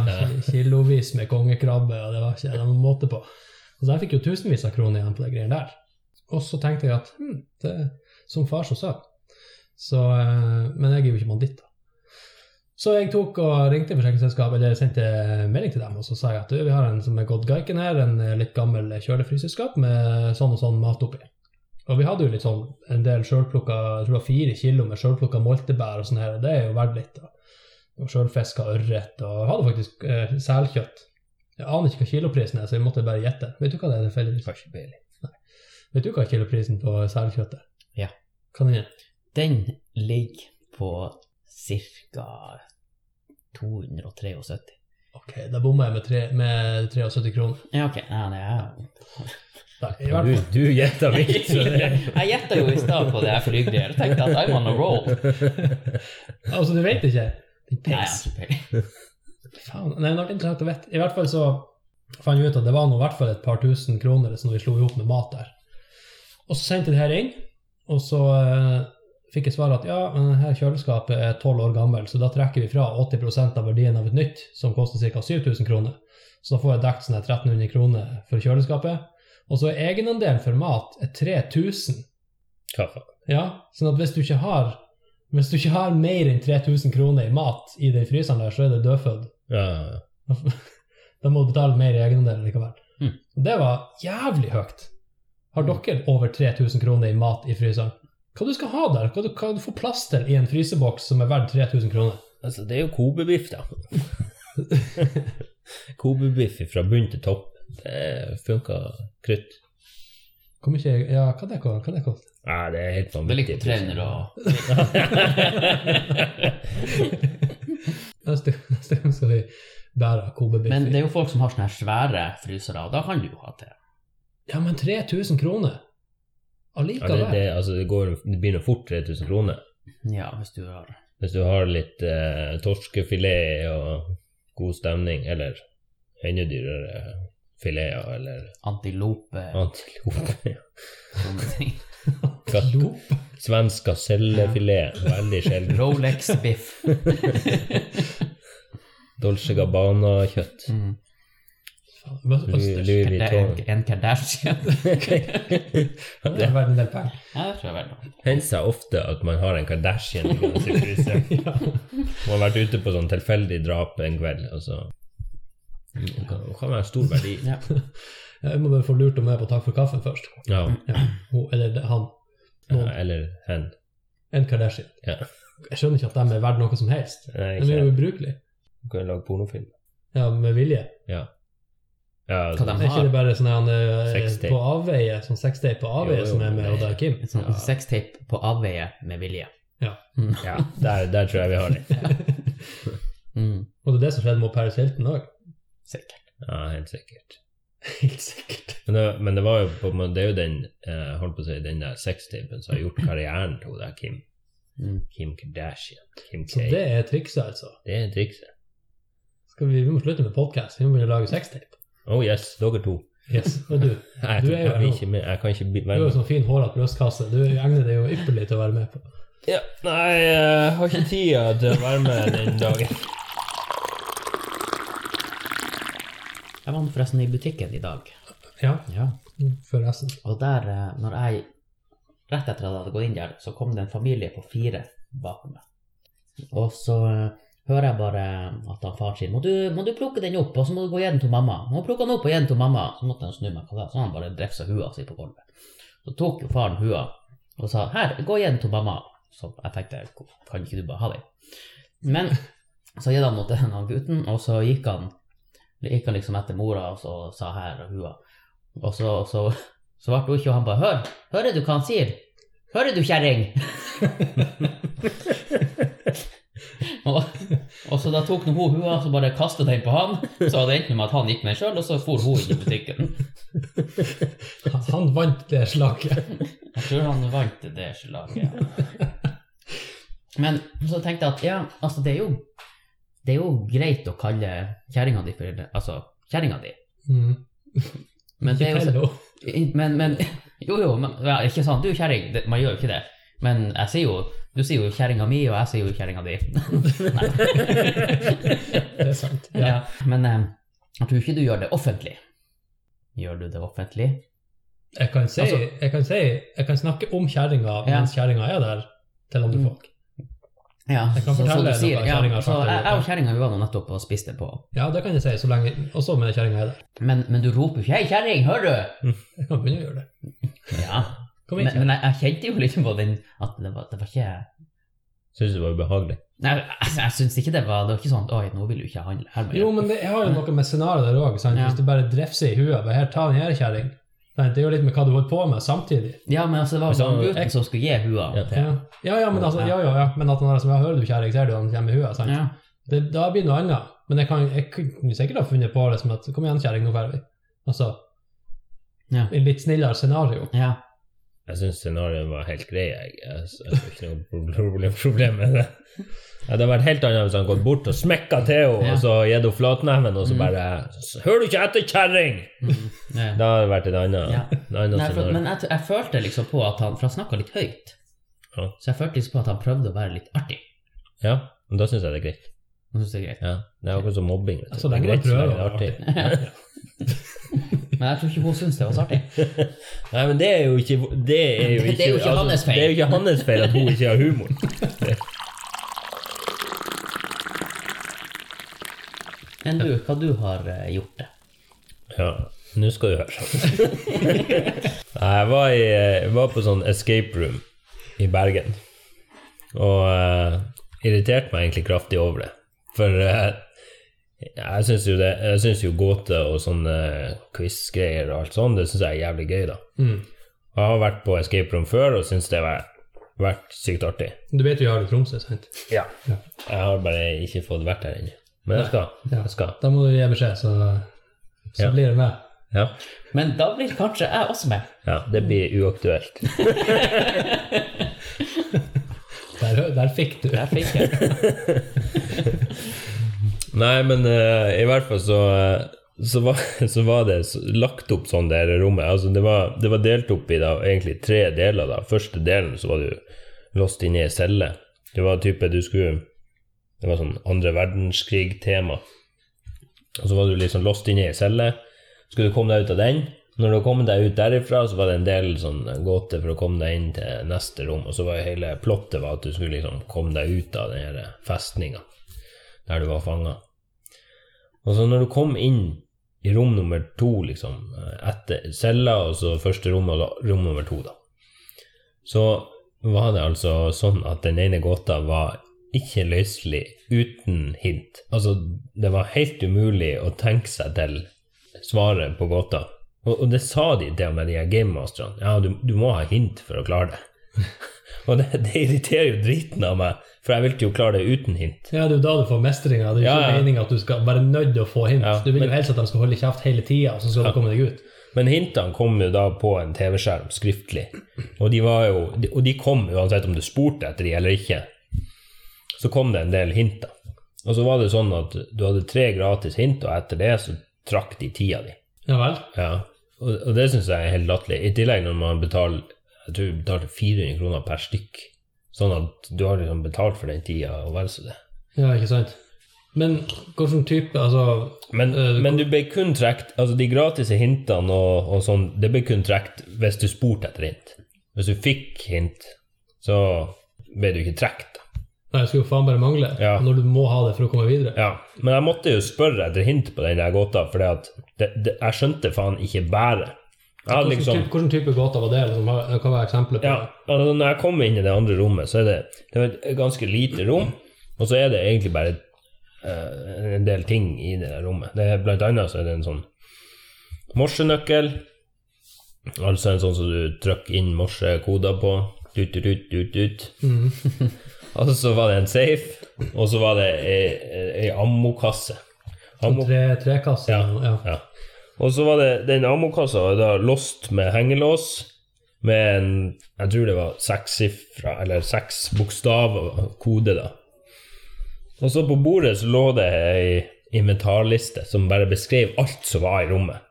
Speaker 1: kilovis med kongekrabbe, og det var ikke det var noen måte på. Og så jeg fikk jo tusenvis av kroner igjen på de greiene der. Og så tenkte jeg at hm, det, som far så sa. Så, eh, men jeg er jo ikke banditt, da. Så jeg tok og ringte forsikringsselskapet, eller sendte melding til dem, og så sa jeg at du, vi har en som er gått gaiken her, en eh, litt gammel kjølefryselskap med sånn og sånn mat oppi. Og vi hadde jo litt sånn en del sjølplukka, jeg tror det var fire kilo med sjølplukka moltebær og sånn her, og det er jo verdt litt. da. Og sjølfiska ørret, og jeg hadde faktisk eh, selkjøtt. Jeg aner ikke hva kiloprisen er, så jeg måtte bare gjette. Vet du hva det er tilfeldigvis?
Speaker 3: Har ikke peiling.
Speaker 1: Vet du hva kiloprisen på selkjøttet?
Speaker 2: Ja.
Speaker 1: Hva den er?
Speaker 2: Den ligger på ca. 273.
Speaker 1: Ok, da bomma jeg med, tre, med 73 kroner.
Speaker 2: Ja, ok. Nei, nei, jeg-
Speaker 1: Da, i hvert fall.
Speaker 3: Du, du gjetta vilt, så det
Speaker 2: jeg gjetta jo i stad på det her flygreiet og tenkte at I'm on a roll. Nei,
Speaker 1: Altså, du vet ikke? Din
Speaker 2: jeg har
Speaker 1: pels.
Speaker 2: ikke peiling.
Speaker 1: Faen. Nei, det har vært interessant å vite. I hvert fall så fant vi ut at det var nå i hvert fall et par tusen kroner som vi slo ihop med mat der. Og så sendte jeg det her inn, og så eh, fikk jeg svar at ja, men det her kjøleskapet er 12 år gammel, så da trekker vi fra 80 av verdien av et nytt, som koster ca. 7000 kroner. Så da får jeg dekt sånn her 1300 kroner for kjøleskapet. Og så er egenandelen for mat er 3000.
Speaker 3: Hva faen?
Speaker 1: Ja, sånn at hvis du ikke har hvis du ikke har mer enn 3000 kroner i mat i den fryseren der, så er det dødfødd.
Speaker 3: Ja, ja, ja.
Speaker 1: Da må du betale mer i egenandel likevel.
Speaker 2: Mm.
Speaker 1: Og Det var jævlig høyt. Har dere over 3000 kroner i mat i fryseren? Hva du skal ha der? Hva du, hva du får plass til i en fryseboks som er verdt 3000 kroner?
Speaker 3: Altså, det er jo kobebiff, da. kobebiff fra bunn til topp. Det funka krutt.
Speaker 1: Hvor mye Ja, hva det, ko- hva det koster?
Speaker 3: Nei, det er helt
Speaker 2: Det
Speaker 3: vanvittig.
Speaker 2: ligger på 300 og
Speaker 1: Neste, neste gang skal vi bære kobebiff.
Speaker 2: Men det
Speaker 1: i.
Speaker 2: er jo folk som har sånne her svære frysere, og da kan du jo ha til.
Speaker 1: Ja, men 3000 kroner?
Speaker 3: Ja, det,
Speaker 1: Allikevel.
Speaker 3: det, altså, det, går, det blir nå fort 3000 kroner.
Speaker 2: Ja, hvis du har
Speaker 3: Hvis du har litt eh, torskefilet og god stemning, eller enda dyrere fileter eller
Speaker 2: antilope og
Speaker 3: antilope.
Speaker 2: sånne ting.
Speaker 3: Katt-
Speaker 1: Lo-
Speaker 3: Svensk gasellefilet, veldig sjelden.
Speaker 2: Rolex-biff.
Speaker 3: Dolce Gabbana-kjøtt.
Speaker 2: Mm.
Speaker 1: Faen, hva- hva-
Speaker 3: Louis Louis
Speaker 2: Det er en,
Speaker 3: Vuitton.
Speaker 2: en Kardashian.
Speaker 1: Det er verdt en del penger.
Speaker 2: Ja, det tror jeg vel.
Speaker 3: Hender seg ofte at man har en Kardashian liggende i fryseren. Man har vært ute på sånn tilfeldig drap en kveld, og så Det kan, det kan være stor verdi.
Speaker 2: Ja.
Speaker 1: Jeg må bare få lurt om jeg er på takk for kaffen først.
Speaker 3: Ja,
Speaker 1: Hun, eller det- han.
Speaker 3: ja,
Speaker 1: Noen.
Speaker 3: eller hen.
Speaker 1: En Kardashian.
Speaker 3: Ja.
Speaker 1: Jeg skjønner ikke at de er verdt noe som helst.
Speaker 3: Nei,
Speaker 1: De
Speaker 3: ikke
Speaker 1: er jo
Speaker 3: hen.
Speaker 1: ubrukelige.
Speaker 3: Du kan lage pornofilm.
Speaker 1: Ja, med vilje.
Speaker 3: Ja, altså.
Speaker 2: Hva de
Speaker 1: Er ikke det
Speaker 2: har?
Speaker 1: bare sånn han eh,
Speaker 3: Sextape.
Speaker 1: på avveie, sånn sextape på avveie
Speaker 3: Jo, jo,
Speaker 1: som er med
Speaker 3: nei.
Speaker 1: Oda Kim?
Speaker 2: En Sånn
Speaker 3: Ja.
Speaker 2: sextape på avveie med vilje.
Speaker 3: ja der, der tror jeg vi har det.
Speaker 2: Mm.
Speaker 1: Og det er det som skjedde med Paris Hilton òg.
Speaker 2: Sikkert.
Speaker 3: Ja, helt sikkert.
Speaker 1: Helt sikkert.
Speaker 3: Men det, men det, var jo på, men det er jo den eh, holdt på å si, den der sextapen som har gjort karrieren til hun der Kim.
Speaker 2: Mm.
Speaker 3: Kim Kardashian. Kim K.
Speaker 1: Så det er trikset, altså.
Speaker 3: det er trikset.
Speaker 1: Skal vi, vi må slutte med podkast, vi må begynne å lage sextape.
Speaker 3: Oh yes, dere to.
Speaker 1: Yes. Og du,
Speaker 3: Jeg,
Speaker 1: Du
Speaker 3: tror-
Speaker 1: er jo
Speaker 3: jeg, vil
Speaker 1: her nå.
Speaker 3: ikke med. jeg kan ikke bli-
Speaker 1: du
Speaker 3: være
Speaker 1: har jo
Speaker 3: med.
Speaker 1: sånn fin, hårete brystkasse. Du egner deg jo ypperlig til å være med på.
Speaker 3: Ja, nei, jeg har ikke tida til å være med den dagen.
Speaker 2: Jeg var forresten i butikken i dag.
Speaker 1: Ja,
Speaker 2: Ja.
Speaker 1: forresten.
Speaker 2: Og der, eh, når jeg rett etter at jeg hadde gått inn der, så kom det en familie på fire bak meg. Og så eh, hører jeg bare at han far sier må du, må du plukke den opp, og så må du gå og gi den til mamma. Må du plukke den opp og gi den til mamma. Så måtte han snu meg, hva da? så han bare drefsa hua si på gulvet. Så tok jo faren hua og sa her, gå og gi den til mamma. Så jeg tenkte kan ikke du bare ha den? Men så gitt han mot den han gutten, og så gikk han, gikk han liksom etter mora og så sa her og hua. Og så, og så så ble hun ikke, og han bare Hør, hører du hva han sier? Hører du, kjerring? og, og så da tok nå hun hua så bare kastet den på han. Så det endte med at han gikk med den sjøl, og så for hun inn i butikken.
Speaker 1: Han- Han vant det slaget.
Speaker 2: Jeg tror han vant det slaget. Men så tenkte jeg at ja, altså det er jo, det er jo greit å kalle kjerringa di for Altså kjerringa di.
Speaker 1: Mm.
Speaker 2: Men det er jo så-
Speaker 1: Hello.
Speaker 2: Men, men Jo, jo, men, ja, ikke sant. Du er kjerring. Det- Man gjør jo ikke det. Men jeg sier jo Du sier jo kjerringa mi, og jeg sier jo kjerringa di.
Speaker 1: Det er sant.
Speaker 2: ja. Men eh, jeg tror ikke du gjør det offentlig. Gjør du det offentlig?
Speaker 1: Jeg kan si,
Speaker 2: Altså-
Speaker 1: jeg kan, si, jeg kan snakke om kjerringa
Speaker 2: Ja.
Speaker 1: mens kjerringa er der, til andre
Speaker 2: Mm.
Speaker 1: folk.
Speaker 2: Ja,
Speaker 1: Jeg kan
Speaker 2: så- så
Speaker 1: fortelle
Speaker 2: du
Speaker 1: noe
Speaker 2: sier- ja,
Speaker 1: kjerringa har
Speaker 2: så
Speaker 1: sagt til
Speaker 2: jeg, jeg og
Speaker 1: dere.
Speaker 2: kjerringa vi var nå nettopp og spiste på.
Speaker 1: Ja, det kan jeg si, så lenge, også med kjerringa er der.
Speaker 2: Men, men du roper jo ikke 'hei, kjerring, hører
Speaker 1: Jeg kan begynne å gjøre det.
Speaker 2: du?' Ja.
Speaker 1: Kom
Speaker 2: Men,
Speaker 1: inn,
Speaker 2: men jeg, jeg kjente jo liksom på den at det var, det var ikke
Speaker 3: Syns det var ubehagelig.
Speaker 2: Nei, jeg, jeg syns ikke det var Det var ikke sånn at 'oi, nå vil du ikke handle her med
Speaker 1: Jo, men det jeg har jo noe med scenarioet der òg.
Speaker 2: Ja.
Speaker 1: Hvis du bare drefser i huet bare her, ta den her, kjerring. Nei, Det er jo litt med hva du holder på med samtidig.
Speaker 2: Ja, men altså, det var
Speaker 3: Men så-
Speaker 2: jo gutten som skulle gi hua
Speaker 3: Ja.
Speaker 2: til
Speaker 1: Ja, ja, ja, men, altså, ja, ja, ja. men at han er som jeg hører du, kjerring, ser du han kommer i huet. sant?
Speaker 2: Ja.
Speaker 1: Det, da blir det noe annet. Men jeg, kan, jeg kunne sikkert ha funnet på det som at kom igjen, kjerring, nå drar vi. Altså,
Speaker 2: Ja.
Speaker 1: i litt snillere scenario.
Speaker 2: ja.
Speaker 3: Jeg syns scenarioet var helt grei. Jeg, jeg, jeg har ikke noe pro- problem, problem med det. Det hadde vært helt annet hvis han gått bort og smekka til henne,
Speaker 2: Ja.
Speaker 3: og så gitt henne flatneven, og så
Speaker 2: Mm.
Speaker 3: bare 'Hører du ikke etter, kjerring?'
Speaker 2: Mm, ja.
Speaker 3: Da hadde det vært et annet,
Speaker 2: Ja.
Speaker 3: et annet
Speaker 2: Nei, for,
Speaker 3: scenario.
Speaker 2: men jeg, t- jeg følte liksom på at han For han snakka litt høyt.
Speaker 3: Ja.
Speaker 2: Så jeg følte liksom på at han prøvde å være litt artig.
Speaker 3: Ja, men da syns jeg det er greit.
Speaker 2: Nå synes jeg det er greit.
Speaker 3: Ja. Det er akkurat som mobbing. vet du.
Speaker 1: Så
Speaker 3: Det er
Speaker 1: lenge man
Speaker 3: greit så
Speaker 1: prøver
Speaker 3: lenge det
Speaker 1: å
Speaker 3: er artig.
Speaker 1: være
Speaker 2: Men jeg tror ikke hun syntes det var så artig.
Speaker 3: Nei, men det er jo ikke Det er jo
Speaker 2: Det-
Speaker 3: ikke, altså,
Speaker 2: det er jo ikke hans feil.
Speaker 3: Det er jo ikke hans feil at hun ikke har humor.
Speaker 2: Enn du, hva du har eh, gjort det?
Speaker 3: Ja, nå skal du høre. Nei, jeg var, i, jeg var på sånn escape room i Bergen. Og eh, irriterte meg egentlig kraftig over det. For eh, jeg syns jo det Jeg syns jo gåte og sånne quiz-greier og alt sånt, det syns jeg er jævlig gøy, da.
Speaker 1: Mm.
Speaker 3: Og jeg har vært på escape room før og syns det har vært sykt artig.
Speaker 1: Du vet jo jeg har det i Tromsø, sant?
Speaker 3: Ja.
Speaker 1: Ja.
Speaker 3: Jeg har bare ikke fått vært her ennå. Men jeg skal.
Speaker 1: Ja.
Speaker 3: Jeg skal.
Speaker 1: Da må du gi beskjed, så, så
Speaker 3: Ja.
Speaker 1: blir det med.
Speaker 3: Ja.
Speaker 2: Men da blir kanskje jeg også med.
Speaker 3: ja. Det blir uaktuelt.
Speaker 1: Der, der fikk du.
Speaker 2: Der fikk jeg.
Speaker 3: Nei, men eh, i hvert fall så, eh, så, var, så var det s- lagt opp sånn det her rommet. Altså, det, var, det var delt opp i da, egentlig tre deler. da. Første delen så var du låst inne i ei celle. Det var type du skulle Det var sånn andre verdenskrig-tema. Og så var du liksom låst inne i ei celle. Så skulle du komme deg ut av den. Når du har kommet deg ut derifra, så var det en del sånn gåte for å komme deg inn til neste rom. Og så var jo hele plottet var at du skulle liksom komme deg ut av den her festninga der du var fanga. Og så når du kom inn i rom nummer to, liksom, etter cella, og så første rom, og da- rom nummer to, da, så var det altså sånn at den ene gåta var ikke løselig uten hint. Altså, det var helt umulig å tenke seg til svaret på gåta. Og, og det sa de til og med de her gamemasterne. Ja, du, du må ha hint for å klare det. og det, det irriterer jo driten av meg, for jeg ville jo klare det uten hint.
Speaker 1: Ja, det er jo da du får mestringa. Det er jo
Speaker 3: Ja,
Speaker 1: ikke
Speaker 3: ja.
Speaker 1: meningen at du skal være nødt til å få hint.
Speaker 3: Ja,
Speaker 1: du vil
Speaker 3: men-
Speaker 1: jo helst at de skal holde kjeft hele tida, og så skal du komme deg ut.
Speaker 3: Men hintene kom jo da på en TV-skjerm skriftlig, og de, var jo, de- og de kom uansett om du spurte etter de eller ikke. Så kom det en del hint, da. Og så var det sånn at du hadde tre gratis hint, og etter det så trakk de tida di.
Speaker 1: Ja vel?
Speaker 3: Ja. Og, og det syns jeg er helt latterlig. I tillegg når man betaler jeg tror vi betalte 400 kroner per stykk. Sånn at du har liksom betalt for den tida, og vel så det.
Speaker 1: Ja, ikke sant? Men hvilken type Altså,
Speaker 3: Men,
Speaker 1: Eh, det
Speaker 3: men du ble kun trukket Altså, de gratis hintene og, og sånn, det ble kun trukket hvis du spurte etter hint. Hvis du fikk hint, så ble du ikke trukket. da.
Speaker 1: nei, det skulle jo faen bare mangle
Speaker 3: Ja.
Speaker 1: når du må ha det for å komme videre.
Speaker 3: Ja. Men jeg måtte jo spørre etter hint på den der gåta, for jeg skjønte faen ikke bæret. Jeg hadde
Speaker 1: Hvilken
Speaker 3: liksom
Speaker 1: type, hvilken type gåter var det? Liksom, Hva- hva var eksempelet på
Speaker 3: Ja,
Speaker 1: det?
Speaker 3: altså når jeg kommer inn i det andre rommet, så er det, det er et ganske lite rom, og så er det egentlig bare eh, en del ting i det der rommet. Det er, blant annet så er det en sånn morsenøkkel, altså en sånn som du trykker inn morsekoder på, tut, tut, tut, tut, tut. og så var det en safe, og så var det ei, ei ammokasse. Ammo-
Speaker 1: sånn Tre, trekasser?
Speaker 3: Ja.
Speaker 1: Ja.
Speaker 3: ja. Og så var det den amokassa var da lost med hengelås, med en Jeg tror det var seks sifra, eller seks bokstaver kode, da. Og så på bordet så lå det ei inventarliste som bare beskrev alt som var i rommet.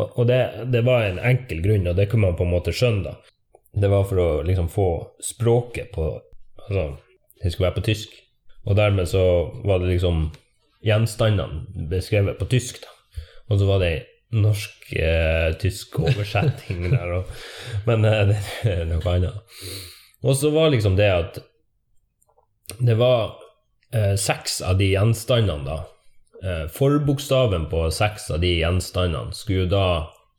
Speaker 3: Og, og det, det var en enkel grunn, og det kunne man på en måte skjønne, da. Det var for å liksom få språket på Altså, det skulle være på tysk. Og dermed så var det liksom gjenstandene beskrevet på tysk, da. Og så var det ei norsk-tysk oversetting der, og, men eh, det er noe annet. Og så var liksom det at det var eh, seks av de gjenstandene, da. Eh, forbokstaven på seks av de gjenstandene skulle jo da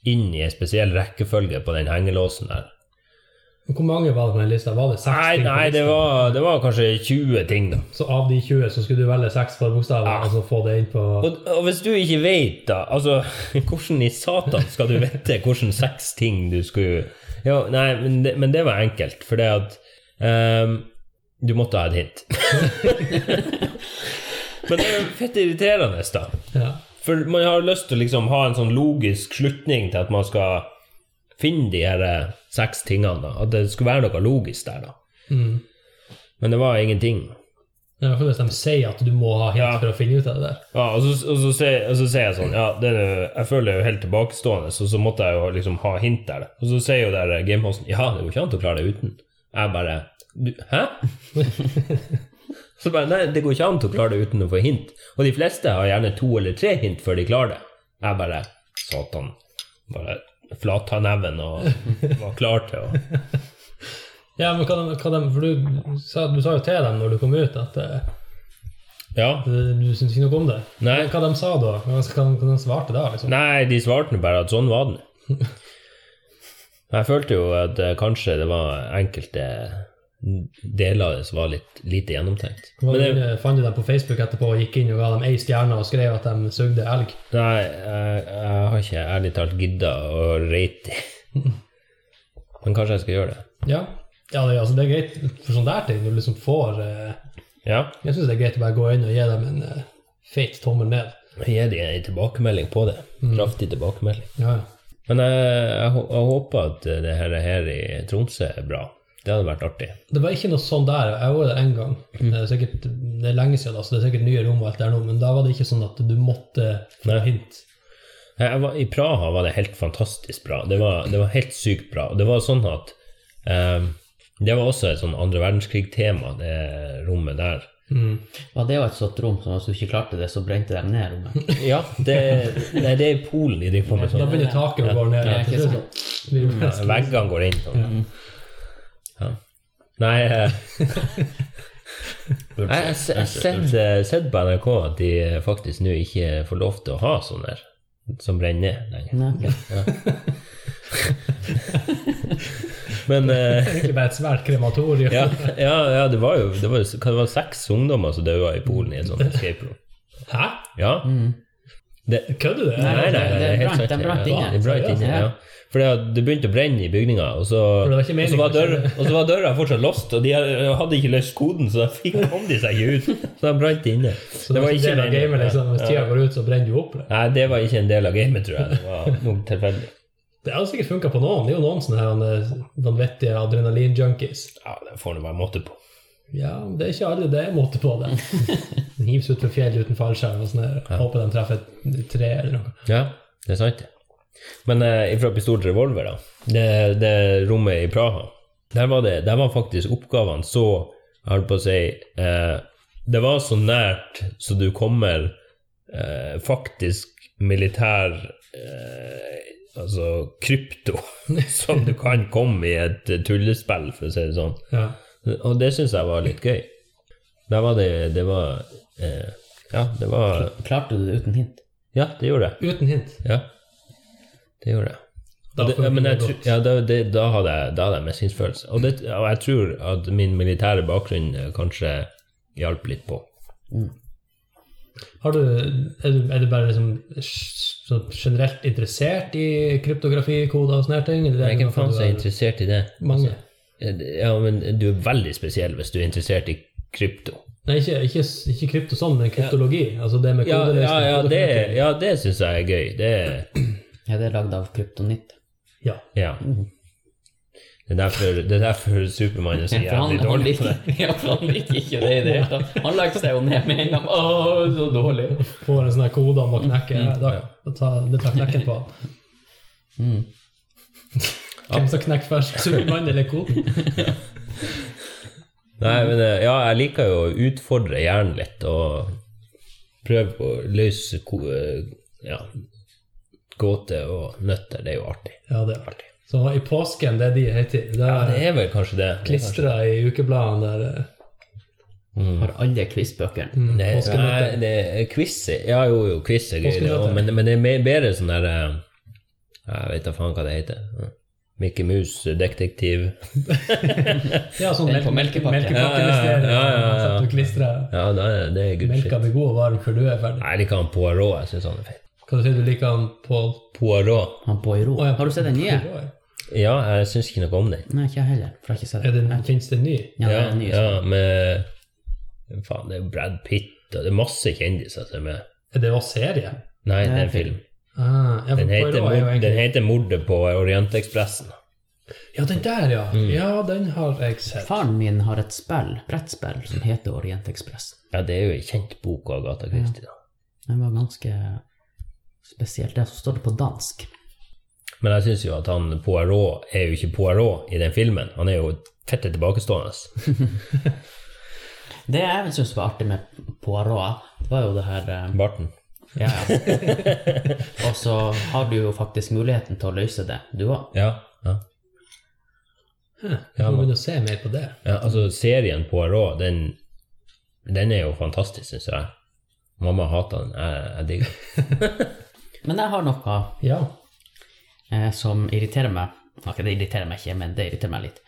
Speaker 3: inn i en spesiell rekkefølge på den hengelåsen der.
Speaker 1: Men Hvor mange var det på den lista? Var det seks
Speaker 3: Nei,
Speaker 1: ting på
Speaker 3: nei det,
Speaker 1: lista?
Speaker 3: var, det var kanskje 20 ting, da.
Speaker 1: Så av de 20 så skulle du velge seks forbokstaver
Speaker 3: Ja.
Speaker 1: og så få det inn på
Speaker 3: Og, og hvis du ikke vet, da Altså, hvordan i satan skal du vite hvordan seks ting du skulle Ja, nei, men det, men det var enkelt, for det at ehm, Du måtte ha et hint. men det er jo fett irriterende, da.
Speaker 1: ja.
Speaker 3: For man har lyst til å liksom ha en sånn logisk slutning til at man skal finne de her eh, seks tingene. da. At det skulle være noe logisk der, da.
Speaker 1: Mm.
Speaker 3: Men det var ingenting.
Speaker 1: Det er i hvert fall hvis de sier at du må ha hint
Speaker 3: Ja.
Speaker 1: for å finne ut av det der.
Speaker 3: Ja, og så, og så, sier, og så sier jeg sånn Ja, det er, jo- jeg føler jeg er jo helt tilbakestående, så så måtte jeg jo liksom ha hint der. Og så sier jo der eh, Gamehosten Ja, det går ikke an å klare det uten. Jeg bare du, Hæ? så bare Nei, det går ikke an å klare det uten å få hint. Og de fleste har gjerne to eller tre hint før de klarer det. Jeg bare Satan. Bare flata neven og var klar til å
Speaker 1: Ja, men hva de, hva de, for du sa, du sa jo til dem når du kom ut at eh,
Speaker 3: Ja.
Speaker 1: du syntes ikke noe om det.
Speaker 3: Nei.
Speaker 1: Men Hva de sa da? Hva hva de, hva de svarte da? liksom?
Speaker 3: Nei, de svarte nå bare at sånn var den. Jeg følte jo at eh, kanskje det var enkelte deler av det som var litt lite gjennomtenkt.
Speaker 1: Hva
Speaker 3: Men det,
Speaker 1: de- Fant du dem på Facebook etterpå og gikk inn og ga dem ei stjerne og skrev at de sugde elg?
Speaker 3: nei, jeg, jeg har ikke ærlig talt gidda å rate de. Men kanskje jeg skal gjøre det.
Speaker 1: Ja, ja det, altså, det er greit for sånne der ting. Når du liksom får eh,
Speaker 3: Ja.
Speaker 1: Jeg syns det er greit å bare gå inn og gi dem en eh, feit tommel ned.
Speaker 3: Gi dem en tilbakemelding på det. Kraftig tilbakemelding.
Speaker 1: Ja, ja.
Speaker 3: Men jeg, jeg, hå- jeg håper at det her, her i Tromsø er bra. Det hadde vært artig.
Speaker 1: Det var ikke noe sånn der. Jeg var der én gang. Det er sikkert det er lenge siden, da, så det er sikkert nye rom og alt der nå, men da var det ikke sånn at du måtte få hint.
Speaker 3: Jeg var, I Praha var det helt fantastisk bra. Det var, det var helt sykt bra. Og det var sånn at eh, Det var også et sånn andre verdenskrig-tema, det rommet der.
Speaker 2: Var det jo et sånt rom som hvis du ikke klarte det, så brente de ned rommet?
Speaker 3: Ja, det, nei, det er i Polen de driver på med
Speaker 1: Da
Speaker 3: sånn.
Speaker 1: begynner taket å gå ned.
Speaker 2: Ja, ikke sant.
Speaker 1: sånn. Vi-
Speaker 3: Veggene går inn sånn. Ja. Nei eh, Jeg har se- jeg har sett, eh, sett på NRK at de faktisk nå ikke får lov til å ha sånne her som brenner ned lenger.
Speaker 2: Nei, ok.
Speaker 3: Men eh,
Speaker 1: Egentlig bare et svært krematorium.
Speaker 3: ja, ja, ja, det var jo det var, jo- hva det var seks ungdommer som døde i Polen i et sånt escape room.
Speaker 1: Hæ?
Speaker 3: Ja. Det,
Speaker 1: Kødder du?
Speaker 3: nei,
Speaker 2: det-
Speaker 3: nei, det er
Speaker 2: det
Speaker 3: helt
Speaker 2: brant-
Speaker 3: sant.
Speaker 2: den brant
Speaker 3: Ja,
Speaker 2: inne.
Speaker 3: det brant inne,
Speaker 2: Ja.
Speaker 3: ja. For det at det begynte å brenne i bygninga, og så,
Speaker 1: det var
Speaker 3: og
Speaker 1: ikke meningen
Speaker 3: så, var
Speaker 1: å skjønne
Speaker 3: døra, og så var døra fortsatt lost, og de hadde ikke løst koden, så da fikk, kom de seg ikke ut. Så de brant inne.
Speaker 1: Så det var ikke del av
Speaker 3: meningen.
Speaker 1: gamet, liksom. Hvis tida går ut, så brenner du opp. det.
Speaker 3: Nei, det var ikke en del av gamet, tror jeg. Det var noe tilfeldig.
Speaker 1: Det hadde sikkert funka på noen. Det er jo noen sånne her eh, vanvittige adrenalin-junkies.
Speaker 3: Ja, det får nå være måte på.
Speaker 1: Ja, men det er ikke alle det er måte på det. Den hives ut fra fjell uten fallskjerm og sånn her. Håper de treffer et tre eller noe.
Speaker 3: Ja, det er sant. det. Men eh, ifra pistol til revolver, da. Det, det rommet i Praha. Der var, det, der var faktisk oppgavene så Jeg holdt på å si eh, Det var så nært så du kommer eh, faktisk militær eh, Altså krypto som du kan komme i et tullespill, for å si det sånn.
Speaker 1: Ja.
Speaker 3: Og det syns jeg var litt gøy. Der var det Det var eh, Ja, det var
Speaker 2: Klarte du det uten hint?
Speaker 3: Ja, det gjorde jeg.
Speaker 1: Uten hint.
Speaker 3: Ja, det gjorde jeg.
Speaker 1: Da
Speaker 3: Og det,
Speaker 1: funker
Speaker 3: ja, men jeg
Speaker 1: det
Speaker 3: tru-
Speaker 1: godt.
Speaker 3: ja, da, det, da hadde jeg, da hadde jeg mestringsfølelse. Og, det- og jeg tror at min militære bakgrunn eh, kanskje hjalp litt på.
Speaker 1: Har du, er, du, er du bare liksom s- sånn generelt interessert i kryptografikoder og sånne her ting? Eller er
Speaker 3: Men
Speaker 1: det
Speaker 3: hvem
Speaker 1: noe
Speaker 3: faen
Speaker 1: du
Speaker 3: som er
Speaker 1: har-
Speaker 3: interessert i det?
Speaker 1: Mange.
Speaker 3: Ja, men du er veldig spesiell hvis du er interessert i krypto.
Speaker 1: Nei, ikke, ikke, ikke krypto sånn, men kryptologi. Altså det med
Speaker 3: Ja,
Speaker 1: kodeløsning.
Speaker 3: ja, ja det, ja, det syns jeg er gøy. Det er
Speaker 2: Ja, det er lagd av kryptonitt.
Speaker 1: Ja.
Speaker 3: Ja. Det er derfor, det er derfor Supermann er så
Speaker 2: For han,
Speaker 3: jævlig
Speaker 2: han,
Speaker 3: dårlig på
Speaker 2: liker,
Speaker 3: det.
Speaker 2: ja, for han liker ikke det i det hele tatt. Han legger seg jo ned med en gang. Å, så dårlig.
Speaker 1: Får en sånn her kode
Speaker 3: Mm,
Speaker 1: han må knekke. Da, da tar, det tar knekken på han.
Speaker 2: Mm.
Speaker 1: Hvem som knekker først? Supermann eller koden?
Speaker 3: Nei,
Speaker 1: Mhm.
Speaker 3: men eh, ja, jeg liker jo å utfordre hjernen litt og prøve å løse ko, eh, ja, gåter og nøtter. Det er jo artig.
Speaker 1: Ja, det er artig. Så i påsken, det er de høytid. Det
Speaker 3: Ja, det
Speaker 1: er
Speaker 3: er vel kanskje det.
Speaker 1: klistra i ukebladene der. eh,
Speaker 3: Mm.
Speaker 2: Har alle quizbøkene.
Speaker 1: Mm,
Speaker 3: Det, nei,
Speaker 1: påskenøtter.
Speaker 3: det er quiz. Ja, jo, jo, quiz er gøy, det, også,
Speaker 1: Påskenøtter.
Speaker 3: men, men det er mer- bedre sånn der eh, Jeg vet da faen hva det heter. Ja. Mickey Mouse, detektiv
Speaker 1: Ja, sånn
Speaker 2: Eller på melkepakke.
Speaker 1: melkepakkemysterium.
Speaker 3: Ja, ja, ja, ja, ja.
Speaker 1: Så at du klistrer
Speaker 3: Ja, det er, det er good shit.
Speaker 1: melka blir god og varm før du er ferdig.
Speaker 3: Nei, Jeg liker han Poirot. Jeg syns han er feit.
Speaker 1: Hva sier du liker han Pål?
Speaker 3: Poirot.
Speaker 2: Han Poirot.
Speaker 1: Å, ja.
Speaker 2: Har du sett den nye?
Speaker 3: Ja, jeg syns ikke noe om den.
Speaker 2: Nei, ikke jeg heller. For jeg har ikke sett
Speaker 1: Er
Speaker 2: den.
Speaker 1: det, finnes det en ny?
Speaker 2: Ja, det er den nye.
Speaker 3: ja, med Faen, det er Brad Pitt, og det er masse kjendiser som er med.
Speaker 1: Er det også serie?
Speaker 3: Nei, det
Speaker 2: Nei,
Speaker 3: er en film.
Speaker 1: Ah, ja, for
Speaker 3: Den heter,
Speaker 1: Poirot er jo
Speaker 3: Mord-
Speaker 1: egentlig-
Speaker 3: den heter 'Mordet på Orientekspressen'.
Speaker 1: Ja, den der, ja.
Speaker 2: Mm.
Speaker 1: Ja, den har jeg sett.
Speaker 2: Faren min har et spill, brettspill, som heter Orientekspressen.
Speaker 3: Ja, det er jo en kjent bok av Agatha Christie. da.
Speaker 2: Den var ganske spesiell. Det er så står det på dansk.
Speaker 3: Men jeg syns jo at han Poirot er jo ikke Poirot i den filmen. Han er jo fette tilbakestående.
Speaker 2: Det jeg syns var artig med Poirot, det var jo det her eh,
Speaker 3: Barten.
Speaker 2: ja, ja. Og så har du jo faktisk muligheten til å løse det, du òg.
Speaker 3: Ja, ja.
Speaker 1: Hæ, Jeg må begynne å se mer på det.
Speaker 3: Ja, altså serien Poirot, den, den er jo fantastisk, syns jeg. Mamma hater den, jeg, jeg digger den.
Speaker 2: Men jeg har noe
Speaker 1: Ja.
Speaker 2: eh, som irriterer meg. Ok, det irriterer meg ikke, men det irriterer meg litt.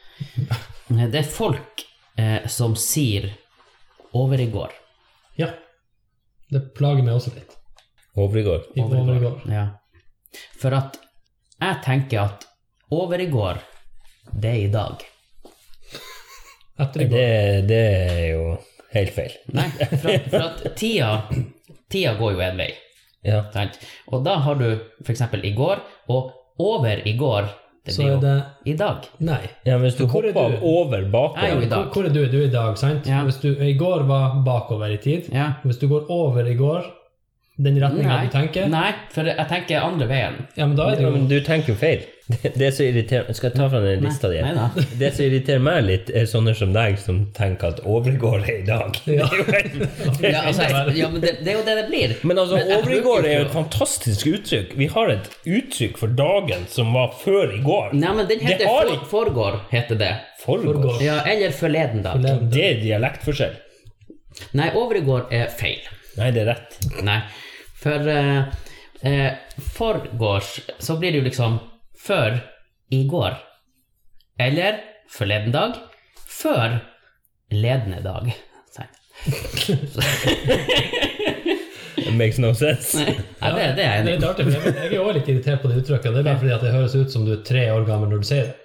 Speaker 2: Eh, Det er folk eh, som sier 'over i går'.
Speaker 1: ja. Det plager meg også litt.
Speaker 3: Overigård.
Speaker 1: I
Speaker 2: Over i går.
Speaker 1: overgår.
Speaker 2: Ja. For at jeg tenker at 'over i går', det er i dag.
Speaker 1: Etter i går.
Speaker 3: Det, det er jo helt feil.
Speaker 2: Nei, for at, for at tida, tida går jo en vei.
Speaker 3: Ja.
Speaker 2: Sant? Og da har du f.eks. i går og over i går. Det
Speaker 1: Så
Speaker 2: blir
Speaker 1: er
Speaker 2: jo
Speaker 1: det
Speaker 2: i dag.
Speaker 1: Nei.
Speaker 3: ja, hvis du
Speaker 1: Hvor er
Speaker 3: hopper
Speaker 1: du?
Speaker 3: av over
Speaker 2: Jeg er jo
Speaker 3: bakover
Speaker 2: i dag.
Speaker 1: Hvor hvor er du? Du er i dag, sant?
Speaker 2: Ja.
Speaker 1: Hvis du i går var bakover i tid,
Speaker 2: Ja.
Speaker 1: hvis du går over i går, den retninga
Speaker 2: Nei.
Speaker 1: du tenker,
Speaker 2: Nei, for jeg tenker andre veien.
Speaker 1: ja, men da er det
Speaker 3: ja,
Speaker 1: jo
Speaker 3: men du tenker jo feil. Det, det er så irriterende Skal jeg ta fra den lista di?
Speaker 2: Nei da.
Speaker 3: Det som irriterer meg litt, er sånne som deg som tenker at Overigård er i dag.
Speaker 1: Ja.
Speaker 3: Det er jo helt-
Speaker 2: Ja, altså, ja, men det, det er jo det det blir.
Speaker 3: Men altså,
Speaker 2: Men jeg
Speaker 3: Overigård
Speaker 2: bruker
Speaker 3: er jo
Speaker 2: ikke
Speaker 3: et fantastisk uttrykk. Vi har et uttrykk for dagen som var før i går.
Speaker 2: Nei, men den heter
Speaker 3: Det har
Speaker 2: for,
Speaker 3: ikke-
Speaker 2: foregår, heter det.
Speaker 3: Forgårs.
Speaker 2: Ja, eller forleden dag.
Speaker 1: Forleden.
Speaker 3: Det er dialektforskjell.
Speaker 2: Nei, over i går er feil.
Speaker 3: Nei, det er rett.
Speaker 2: Nei, for eh, eh, forgårs så blir det jo liksom før i går. Eller forleden dag. Før ledende dag. Nei,
Speaker 3: It makes no sense.
Speaker 2: ja, det, det er
Speaker 1: Det er
Speaker 2: jeg enig i.
Speaker 1: litt artig, for jeg- jeg er også litt irritert på det uttrykket. Det er bare fordi at det høres ut som du er tre år gammel når du sier det.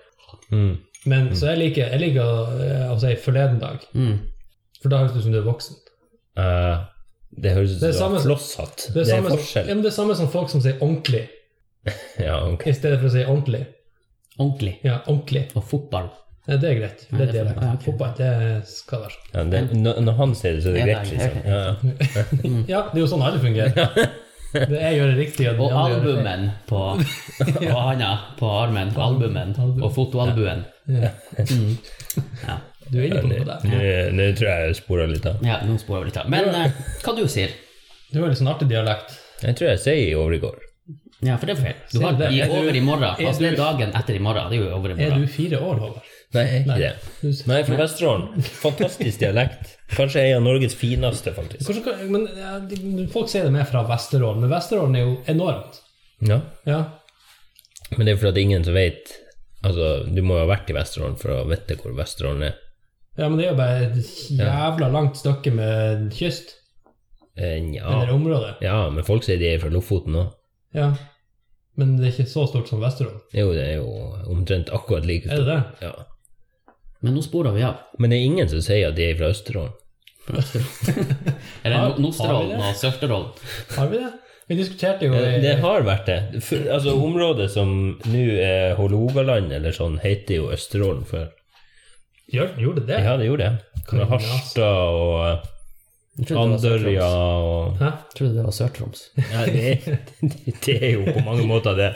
Speaker 3: Mm.
Speaker 1: Men så jeg liker, jeg liker å, eh, å si forleden dag,
Speaker 2: Mm.
Speaker 1: for da høres det ut som du er voksen.
Speaker 3: Eh, det høres ut
Speaker 1: Det er
Speaker 3: som
Speaker 1: samme-
Speaker 3: en flosshatt.
Speaker 1: Det er, samme, som,
Speaker 3: forskjell.
Speaker 1: ja, men det er samme som folk som sier ordentlig,
Speaker 3: Ja, ok.
Speaker 1: i stedet for å si ordentlig.
Speaker 2: Ordentlig.
Speaker 1: Ja, ordentlig.
Speaker 2: Og fotball.
Speaker 1: Ja, det er greit. Det
Speaker 2: Ja,
Speaker 1: er
Speaker 2: det er
Speaker 1: dialekt.
Speaker 2: for- ja, ok.
Speaker 1: Fotball, det skal være sånn.
Speaker 3: Ja, det, når, når han sier det, så er
Speaker 2: Ja,
Speaker 3: det greit,
Speaker 2: det er-
Speaker 3: liksom. Ja, ja.
Speaker 1: Ja, det er jo sånn alle fungerer. Det jeg gjør det riktig, og
Speaker 2: Og
Speaker 1: den andre gjør det feil.
Speaker 2: albumen på Og handa på armen på albumen.
Speaker 1: Album.
Speaker 2: Og fotoalbuen.
Speaker 1: Ja.
Speaker 2: Ja.
Speaker 1: Du er inne på noe
Speaker 3: Nå-
Speaker 1: der.
Speaker 3: Nå nå tror jeg jeg spora litt av.
Speaker 2: ja, nå sporer vi litt av. Men eh, hva du sier?
Speaker 1: Du har litt sånn artig dialekt.
Speaker 3: Jeg tror jeg sier i overgård.
Speaker 2: Ja, for det er feil. Du har
Speaker 1: det.
Speaker 2: i
Speaker 1: Er du-
Speaker 2: over i morgen.
Speaker 1: er
Speaker 2: Altså, det er dagen etter i morgen. Det er jo over i
Speaker 1: Er
Speaker 2: morgen.
Speaker 1: du fire år, Håvard?
Speaker 3: Nei, jeg er ikke
Speaker 1: Nei.
Speaker 3: det.
Speaker 1: Du s-
Speaker 3: Nei, fra Vesterålen. Fantastisk dialekt. Kanskje en av Norges fineste, faktisk.
Speaker 1: Hvordan kan- Men ja, de- folk sier det mer fra Vesterålen, men Vesterålen er jo enormt.
Speaker 3: Ja.
Speaker 1: Ja.
Speaker 3: Men det er fordi ingen som vet Altså, du må jo ha vært i Vesterålen for å vite hvor Vesterålen er.
Speaker 1: ja, men det er jo bare et jævla langt stykke med kyst.
Speaker 3: Eh,
Speaker 1: Eller
Speaker 3: Nja.
Speaker 1: område.
Speaker 3: Ja, men folk sier de er fra Lofoten òg.
Speaker 1: Ja. Men det er ikke så stort som Vesterålen.
Speaker 3: Jo, det er jo omtrent akkurat like
Speaker 1: Er det
Speaker 3: stort.
Speaker 1: det?
Speaker 3: Ja.
Speaker 2: Men nå sporer vi av.
Speaker 3: Men det er ingen som sier at de er fra Østerålen.
Speaker 2: Eller
Speaker 1: Har-
Speaker 2: no- Nosterålen
Speaker 1: har vi
Speaker 2: og Sørterålen.
Speaker 1: Har vi det? Vi diskuterte jo
Speaker 3: Eh,
Speaker 1: i-
Speaker 3: Det har vært det. For, altså, området som nå er Hålogaland eller sånn, heter jo Østerålen før.
Speaker 1: Gjør- Gjorde det?
Speaker 3: Ja, det gjorde det. Kan være Harstad og eh,
Speaker 2: Jeg trodde det var
Speaker 3: Andørja
Speaker 2: Sør-Troms.
Speaker 3: og
Speaker 1: Hæ?
Speaker 2: Jeg trodde det var Sør-Troms.
Speaker 3: ja, det, det er jo på mange måter det.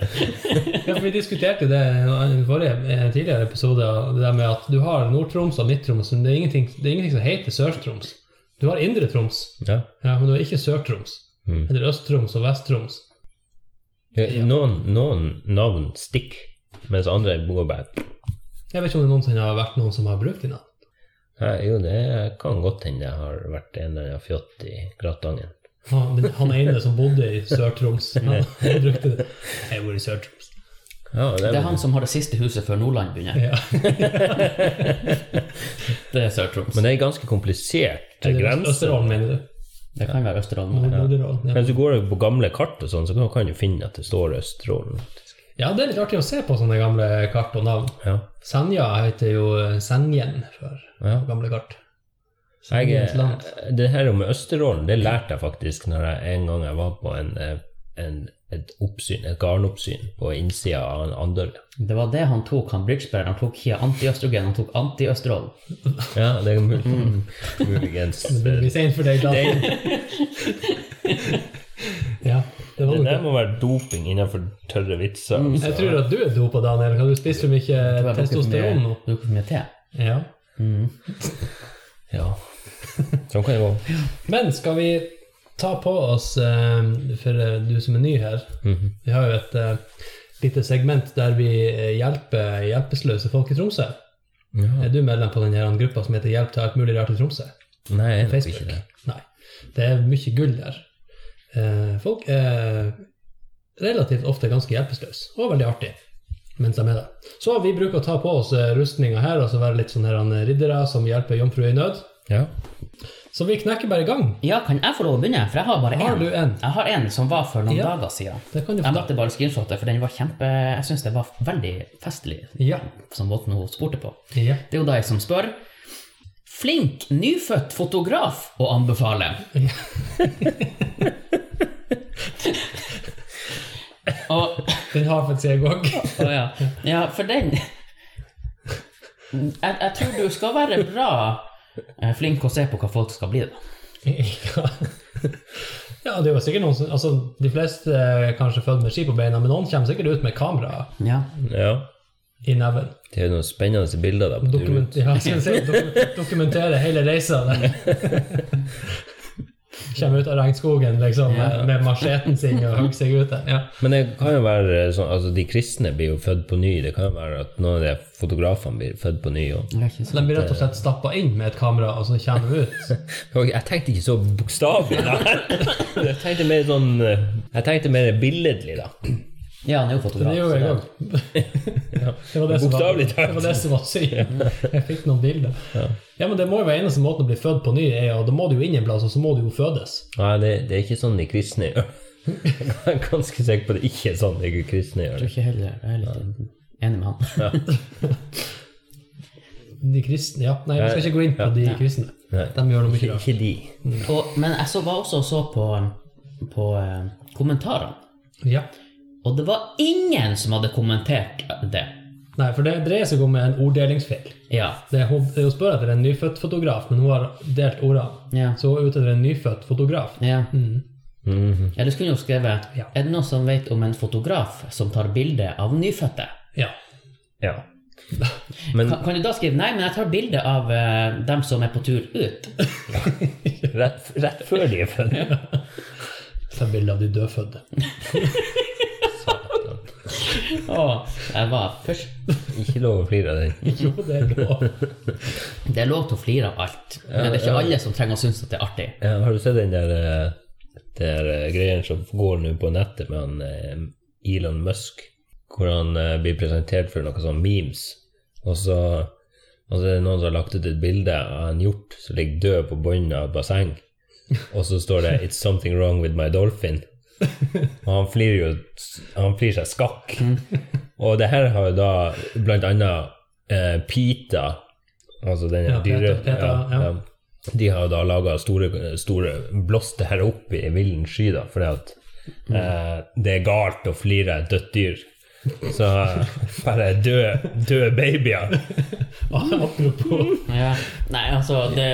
Speaker 1: Ja, for vi diskuterte det i en forrige, en tidligere episode, og det der med at du har Nord-Troms og Midt-Troms, men det er ingenting, det er ingenting som heter Sør-Troms. Du har Indre-Troms,
Speaker 3: Ja.
Speaker 1: ja, men du har ikke Sør-Troms.
Speaker 3: Mm.
Speaker 1: Eller Øst-Troms og Vest-Troms.
Speaker 3: Noen, noen navn stikker, mens andre går bare
Speaker 1: Jeg vet ikke om det noensinne har vært noen som har brukt de navnene.
Speaker 3: ja, Jo, det kan godt hende det har vært en eller annen fjott i Gratangen.
Speaker 1: Han, den- han ene som bodde i Sør-Troms, han brukte det. Jeg bor i Sør-Troms.
Speaker 3: Ja,
Speaker 2: Det er han som har det siste huset før Nordland begynner.
Speaker 1: Ja.
Speaker 2: Det er Sør-Troms.
Speaker 3: Men det er en ganske komplisert
Speaker 1: Eller
Speaker 3: grense.
Speaker 1: Østerålen, mener du?
Speaker 2: Det kan være Østerålen.
Speaker 1: Nord- Norderålen, Ja.
Speaker 3: Men så går du på gamle kart og sånn, så kan- kan du finne at det står Østerålen.
Speaker 1: ja, det er litt artig å se på sånne gamle kart og navn.
Speaker 3: Ja.
Speaker 1: Senja heter jo eh, Senjen før
Speaker 3: ja.
Speaker 1: gamle kart. Senjens
Speaker 3: Jeg, eh,
Speaker 1: land.
Speaker 3: det her om Østerålen, det lærte jeg faktisk når jeg en gang jeg var på en, eh, en, et oppsyn, et garnoppsyn på innsida av en Andørja.
Speaker 2: Det var det han tok, han bridgebæreren. Han tok Kia anti-østrogen, han tok anti-Østerålen.
Speaker 3: Ja, det er mul muligens
Speaker 1: Mm. Det blir
Speaker 3: eh,
Speaker 1: vi sent for deg, da.
Speaker 3: det,
Speaker 1: Ja, det var
Speaker 3: eh, det
Speaker 1: nok
Speaker 3: der
Speaker 1: det.
Speaker 3: må være doping innenfor tørre vitser. altså.
Speaker 1: Jeg tror at du er dopa, Daniel. Har du spist for
Speaker 2: Det
Speaker 1: mye
Speaker 2: var drukket for mye-
Speaker 1: testosteron nå?
Speaker 2: Drukket for mye te.
Speaker 1: Ja.
Speaker 2: Mm.
Speaker 3: Ja. Sånn kan det gå.
Speaker 1: Men skal vi ta på oss, eh, for eh, du som er ny her,
Speaker 3: Mhm.
Speaker 1: Vi har jo et eh, lite segment der vi eh, hjelper hjelpeløse folk i Tromsø.
Speaker 3: ja.
Speaker 1: Er du medlem på denne her gruppa som heter 'Hjelp til alt mulig rart i Tromsø'?
Speaker 3: Nei, jeg
Speaker 1: På
Speaker 3: vet
Speaker 1: Facebook?
Speaker 3: ikke det.
Speaker 1: Nei. Det er mye gull der. Eh, folk er relativt ofte ganske hjelpeløse, og veldig artig mens de er der. Så vi bruker å ta på oss eh, rustninga her, og så være litt sånn her han, riddere som hjelper jomfruer i nød.
Speaker 3: Ja.
Speaker 1: Så vi knekker bare i gang.
Speaker 2: Ja, kan jeg få lov å begynne? For jeg har bare
Speaker 1: Har
Speaker 2: én.
Speaker 1: du en?
Speaker 2: Jeg har en som var for noen
Speaker 1: Ja.
Speaker 2: dager siden.
Speaker 1: Det kan du
Speaker 2: Jeg
Speaker 1: få.
Speaker 2: måtte bare screenshotte, for den var kjempe Jeg syns det var veldig festlig,
Speaker 1: Ja.
Speaker 2: som måten hun spurte på.
Speaker 1: ja.
Speaker 2: Det er jo deg som spør. Flink nyfødt fotograf å anbefale. og,
Speaker 1: Den har faktisk jeg òg.
Speaker 2: å ja. ja, for den jeg, jeg tror du skal være bra eh, flink å se på hva folk skal bli. da.
Speaker 1: Ja. ja, det var sikkert noen som altså, De fleste er kanskje født med ski på beina, men noen kommer sikkert ut med kamera
Speaker 2: Ja.
Speaker 3: ja.
Speaker 1: i neven.
Speaker 3: Det er jo noen spennende bilder da på turen.
Speaker 1: Dokument, ja, skal jeg si, dokum- dokumentere hele reisa. der. Kommer ut av regnskogen liksom, med, med macheten sin og hugger seg ut der. Ja.
Speaker 3: Men det kan jo være sånn, altså de kristne blir jo født på ny. Det kan jo være at noen av de fotografene blir født på ny òg.
Speaker 2: Det er ikke
Speaker 1: Så de blir rett og slett stappa inn med et kamera, og så kommer de ut.
Speaker 3: Jeg tenkte ikke så bokstavelig, da. Jeg tenkte mer sånn eh, Jeg tenkte mer billedlig, da.
Speaker 2: så- Ja, han er jo
Speaker 1: Men
Speaker 2: fotograf.
Speaker 1: Det gjorde jeg
Speaker 2: så
Speaker 1: òg. Det var det som var,
Speaker 3: Bokstavelig talt.
Speaker 1: det var det som var synd. Jeg fikk noen bilder. Ja, men Det må jo være eneste måten å bli født på ny, er jo, da må du jo inn en plass, og så må du jo fødes.
Speaker 3: Nei, det, det er ikke sånn de kristne gjør. Jeg er ganske sikker på at det ikke er sånn de kristne gjør
Speaker 2: Jeg
Speaker 3: det.
Speaker 2: tror ikke heller Jeg er litt enig med han.
Speaker 1: De kristne, ja. Nei, vi skal ikke gå inn på de kristne.
Speaker 3: Nei.
Speaker 1: De gjør noe mye
Speaker 3: Ikke,
Speaker 1: rart.
Speaker 3: ikke de.
Speaker 2: Og, men jeg så, var også og så på, på eh, kommentarene.
Speaker 1: Ja.
Speaker 2: Og det var ingen som hadde kommentert det.
Speaker 1: Nei, for det dreier seg om en orddelingsfeil.
Speaker 2: Ja.
Speaker 1: Det er, hun, hun spør etter en nyfødt fotograf, men hun har delt ordene.
Speaker 2: Ja.
Speaker 1: Så hun er ute etter en nyfødt fotograf.
Speaker 2: ja.
Speaker 1: Mhm.
Speaker 3: Mhm.
Speaker 2: Eller skulle hun jo skrevet
Speaker 1: Ja.
Speaker 2: Er det noen som vet om en fotograf som tar bilde av nyfødte?
Speaker 1: Ja.
Speaker 3: Ja. Men
Speaker 2: Kan, kan du da skrive Nei, men jeg tar bilde av eh, dem som er på tur ut.
Speaker 3: rett, rett før de er født
Speaker 1: Ta bilde av de dødfødte.
Speaker 2: Å, jeg var først
Speaker 3: Ikke lov å flire av den.
Speaker 1: Jo, det er lov.
Speaker 2: Det er lov til å flire av alt, men det er ikke alle som trenger å synes at det er artig.
Speaker 3: Ja, har du sett den der, eh, der eh, greien som går nå på nettet med han eh, Elon Musk, hvor han eh, blir presentert for noen sånne memes, og så, og så er det noen som har lagt ut et bilde av en hjort som ligger død på bunnen av et basseng, og så står det 'It's something wrong with my dolphin'. Og han flirer jo Han flirer seg skakk. Og det her har jo da blant annet eh, Pita, altså den
Speaker 1: Ja, Peta-
Speaker 3: dyre...
Speaker 1: Peta, ja.
Speaker 3: De har jo da laga store, store Blåst det her opp i villen sky, da, fordi at Eh, det er galt å flire av et dødt dyr. Så eh, bare døde døde babyer.
Speaker 1: Apropos
Speaker 2: Ja. Nei, altså det,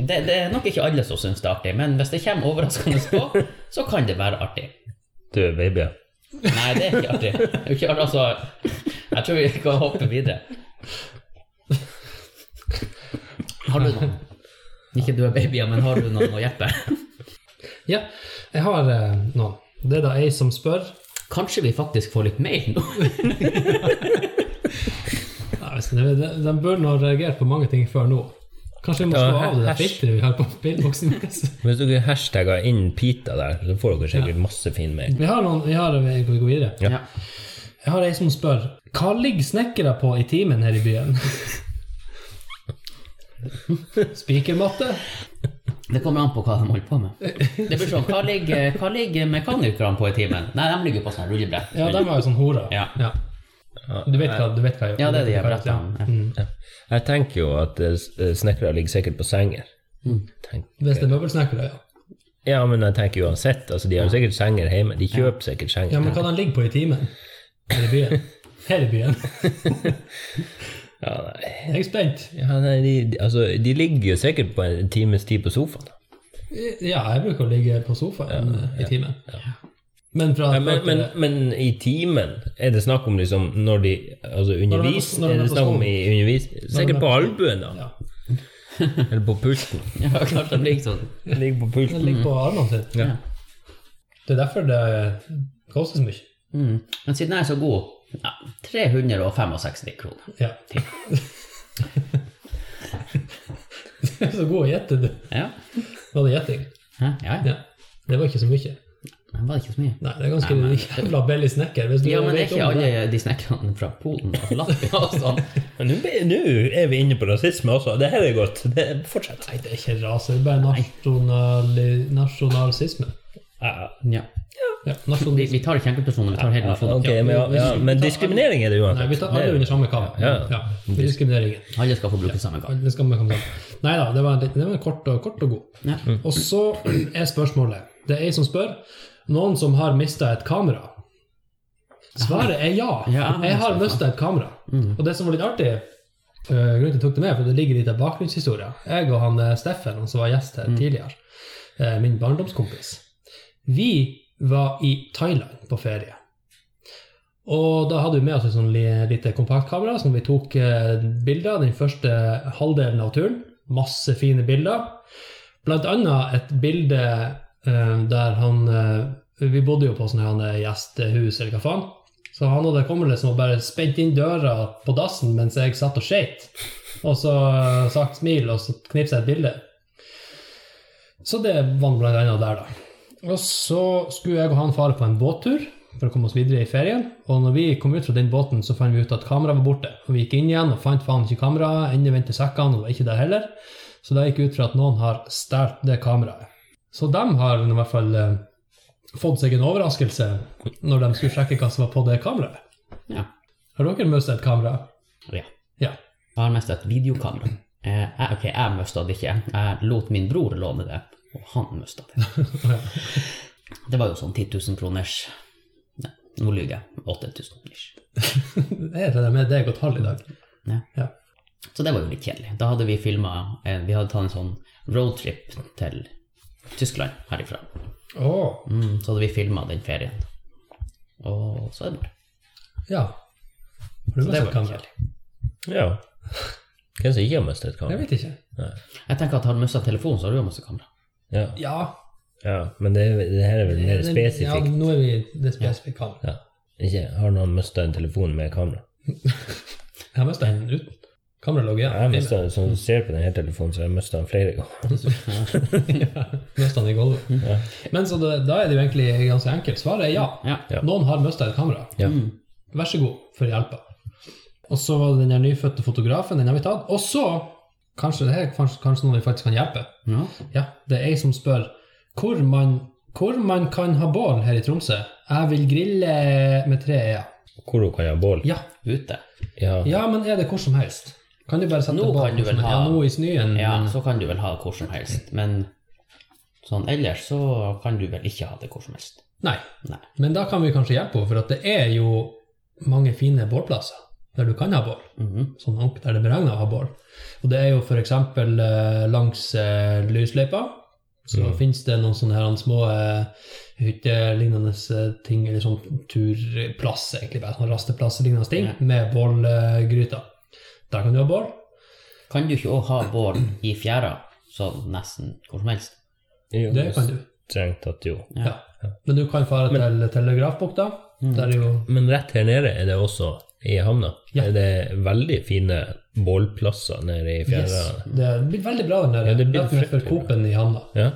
Speaker 2: det, det er nok ikke alle som syns det er artig, men hvis det kommer overraskende på, så kan det være artig.
Speaker 3: Døde babyer.
Speaker 2: Nei, det er ikke artig. Det er Ikke artig altså, jeg tror vi kan hoppe videre. Har du noen? Ikke døde babyer, men har du noen å hjelpe?
Speaker 1: Ja, jeg har eh, noen. Det er da ei som spør.
Speaker 2: Kanskje vi faktisk får litt mail nå?
Speaker 1: Nei, hvis det- de, de bør nå ha reagert på mange ting før nå. Kanskje vi må
Speaker 3: Ja,
Speaker 1: slå av det der
Speaker 3: hasj.
Speaker 1: filteret vi har på mailboksen vår.
Speaker 3: Hvis dere hashtagger inn Pita der, så får dere sikkert masse fin mail.
Speaker 1: Vi har noen vi har, eh, vi kan gå videre.
Speaker 2: Ja.
Speaker 1: Jeg har ei som spør Hva ligger snekkere på i timen her i byen? Spikermatte?
Speaker 2: Det kommer an på hva de holder på med. Det blir sånn, Hva ligger, hva ligger mekanikerne på i timen? Nei, de ligger på sånn rullebrett.
Speaker 1: Ja, de var jo sånn horer.
Speaker 2: Ja.
Speaker 1: Du vet hva du vet hva jeg
Speaker 2: Ja, det er de
Speaker 1: hva jeg- ja.
Speaker 2: brettene.
Speaker 1: Mm.
Speaker 3: Jeg tenker jo at eh, s- eh, snekkere ligger sikkert på senger.
Speaker 1: Mm.
Speaker 3: Tenk.
Speaker 1: Hvis det er møbelsnekkere, ja.
Speaker 3: Ja, men jeg tenker uansett. Altså, de har jo sikkert senger hjemme. De kjøper sikkert
Speaker 1: Ja,
Speaker 3: senger.
Speaker 1: Men hva de ligger på i timen her i byen? Her i byen.
Speaker 3: Ja, nei.
Speaker 1: Jeg er spent.
Speaker 3: Ja, nei, de, de- altså, de ligger jo sikkert på en times tid på sofaen.
Speaker 1: Ja, jeg bruker å ligge på sofaen eh, i timen. Men fra
Speaker 3: Ja, men, men, men i timen, er det snakk om liksom når de altså undervis,
Speaker 1: Når de er på- når de
Speaker 3: er
Speaker 1: er
Speaker 3: det
Speaker 1: på
Speaker 3: snakk om
Speaker 1: skolen.
Speaker 3: i undervis, Sikkert
Speaker 1: er
Speaker 3: på
Speaker 1: på
Speaker 3: albuen, da.
Speaker 1: ja.
Speaker 3: Eller på pulten.
Speaker 2: Ja, klart de ligger sånn.
Speaker 3: Ligger på
Speaker 1: Den
Speaker 3: pulten.
Speaker 1: ligger eh, på armene sine.
Speaker 3: Ja.
Speaker 1: Det er derfor det koster så mye.
Speaker 2: Mm. Men siden jeg er så god, ja, 365 kroner.
Speaker 1: Ja. Du er så god å gjette, du.
Speaker 2: Ja,
Speaker 1: Var det gjetting?
Speaker 2: Hæ? ja. ja.
Speaker 1: Ja. Det var ikke så mye.
Speaker 2: Det var ikke så mye.
Speaker 1: Nei, det er ganske
Speaker 2: Nei, men-
Speaker 1: jævla billig snekker. Hvis du
Speaker 2: Ja, men er
Speaker 1: vet
Speaker 2: ikke
Speaker 1: om det.
Speaker 2: alle de snekkerne fra Polen og Latvia og sånn?
Speaker 3: Men nå be- nå er vi inne på rasisme også. Det her er godt. Det, fortsett.
Speaker 1: Nei, det er ikke rase, det er bare nasjonali- nasjonalisisme.
Speaker 3: Ja.
Speaker 2: Ja.
Speaker 1: Ja,
Speaker 2: Vi,
Speaker 1: nasjonalisme.
Speaker 2: vi tar ikke enkeltpersoner, vi tar hele nasjonen.
Speaker 3: Ok, men, ja, ja, men diskriminering er det
Speaker 1: Nei,
Speaker 3: uansett.
Speaker 1: vi tar alle under samme kam.
Speaker 3: Ja.
Speaker 1: Ja, diskrimineringen.
Speaker 2: Alle skal få bruke samme gang.
Speaker 1: Alle skal med komme sammen. Nei da, det var, en liten- det var en kort, og, kort og god.
Speaker 2: Ja.
Speaker 1: Og så er spørsmålet Det er ei som spør. Noen som har mista et kamera? Svaret er ja.
Speaker 2: Ja,
Speaker 1: Jeg har
Speaker 2: sant.
Speaker 1: mista et kamera. Og det som var litt artig, øh, grunnen til at jeg tok det med, for det ligger litt av bakgrunnshistoria. Jeg og han eh, Steffen, han som var gjest her tidligere, eh, min barndomskompis, vi var i Thailand på ferie. Og da hadde vi med oss et sånn li- lite kompaktkamera som vi tok eh, bilder av den første halvdelen av turen. Masse fine bilder. Blant annet et bilde eh, der han eh, Vi bodde jo på sånn her eh, gjestehus, eller hva faen. Så han hadde kommet liksom og bare spent inn døra på dassen mens jeg satt og skeit. Og så eh, sagt smil, og så knipset jeg et bilde. Så det var blant annet der, da. Og så skulle jeg og han fare på en båttur for å komme oss videre i ferien. Og når vi kom ut fra den båten, så fant vi ut at kameraet var borte. Og vi gikk inn igjen og fant faen ikke kameraet. Endevendt til sekkene, og var ikke der heller. Så det gikk ut fra at noen har stjålet det kameraet. Så de har i hvert fall eh, fått seg en overraskelse når de skulle sjekke hva som var på det kameraet.
Speaker 2: Ja.
Speaker 1: Har dere mistet et kamera?
Speaker 2: ja.
Speaker 1: Ja.
Speaker 2: Jeg har mest et videokamera. Eh, jeg- ok, jeg mista det ikke. Jeg lot min bror låne det, og han mista det. Det var jo sånn 10 000 kroners Nei, nå lyver jeg. 8000 ish.
Speaker 1: Jeg regner med deg og tall i dag.
Speaker 2: Så det var jo litt kjedelig. Da hadde vi filma eh, Vi hadde tatt en sånn roadtrip til Tyskland herifra.
Speaker 1: Åh,
Speaker 2: Mm, så hadde vi filma den ferien. Og så er det borte.
Speaker 1: ja. Har du
Speaker 2: Så det
Speaker 1: mistet
Speaker 2: var litt
Speaker 1: kamera?
Speaker 2: kjedelig.
Speaker 3: Ja. Hvem som ikke har mistet et
Speaker 1: Jeg
Speaker 3: kamera?
Speaker 1: vet ikke.
Speaker 2: Jeg tenker at har du mista telefonen, så har du jo mista kamera.
Speaker 3: Ja.
Speaker 1: Ja.
Speaker 3: ja. Men det, er- det her er vel mer
Speaker 1: den- Ja,
Speaker 3: spesifikt.
Speaker 1: nå er vi det spesifikke kameraet.
Speaker 3: Ja. Ikke, har noen mistet en telefon med kamera?
Speaker 1: Jeg har mistet en uten. Kameraet lå igjen.
Speaker 3: Jeg har mistet en, som du ser på denne telefonen, så jeg har mistet den flere ganger.
Speaker 1: Mistet den i gulvet. Men så det, da er det jo egentlig ganske enkelt. Svaret er ja.
Speaker 2: Ja.
Speaker 3: Ja.
Speaker 1: Noen har mistet et kamera.
Speaker 3: Ja.
Speaker 1: Vær så god for hjelpa. Og så var det den der nyfødte fotografen, den har vi tatt. Og så, kanskje det her, kanskje, kanskje noen vi faktisk kan hjelpe.
Speaker 2: Ja.
Speaker 1: Ja, det er jeg som spør hvor man, hvor man kan ha bål her i Tromsø. Jeg vil grille med tre e-er.
Speaker 3: Hvor hun kan ha bål?
Speaker 1: Ja.
Speaker 2: Ute.
Speaker 3: Ja.
Speaker 1: ja, men er det hvor som helst? Kan du bare sette
Speaker 2: Nå
Speaker 1: bål
Speaker 2: kan du
Speaker 1: hvor som
Speaker 2: vel
Speaker 1: helst?
Speaker 2: ha-
Speaker 1: Ja, nå i snøen.
Speaker 2: Ja, så kan du vel ha hvor som helst, men sånn ellers så kan du vel ikke ha det hvor som helst.
Speaker 1: Nei.
Speaker 2: Nei.
Speaker 1: Men da kan vi kanskje hjelpe henne, for at det er jo mange fine bålplasser der du kan ha bål.
Speaker 2: Mhm.
Speaker 1: Sånn ordentlig der det er beregna å ha bål. Og det er jo f.eks. langs eh, lysløypa. Så
Speaker 3: Mm.
Speaker 1: finnes det noen sånne her små eh, hyttelignende eh, ting, eller sånn turplass, egentlig bare sånn rasteplasslignende ting,
Speaker 2: Ja.
Speaker 1: med bålgryter. Der kan du ha bål.
Speaker 2: Kan du ikke òg ha bål i fjæra, sånn nesten hvor som helst?
Speaker 3: Jo,
Speaker 1: Det kan du.
Speaker 3: Strengt tatt, jo.
Speaker 2: Ja.
Speaker 1: Ja. Men du kan fare til Telegrafbukta.
Speaker 2: Mm.
Speaker 1: Der er jo
Speaker 3: Men rett her nede er det også i havna.
Speaker 1: Ja.
Speaker 3: Er det veldig fine bålplasser nede i fjæra?
Speaker 1: Yes. Det er blitt veldig bra den der.
Speaker 3: Ja, det er blitt
Speaker 1: Rett ned for
Speaker 3: fryktelig bra.
Speaker 1: Coop-en i havna.
Speaker 3: Ja.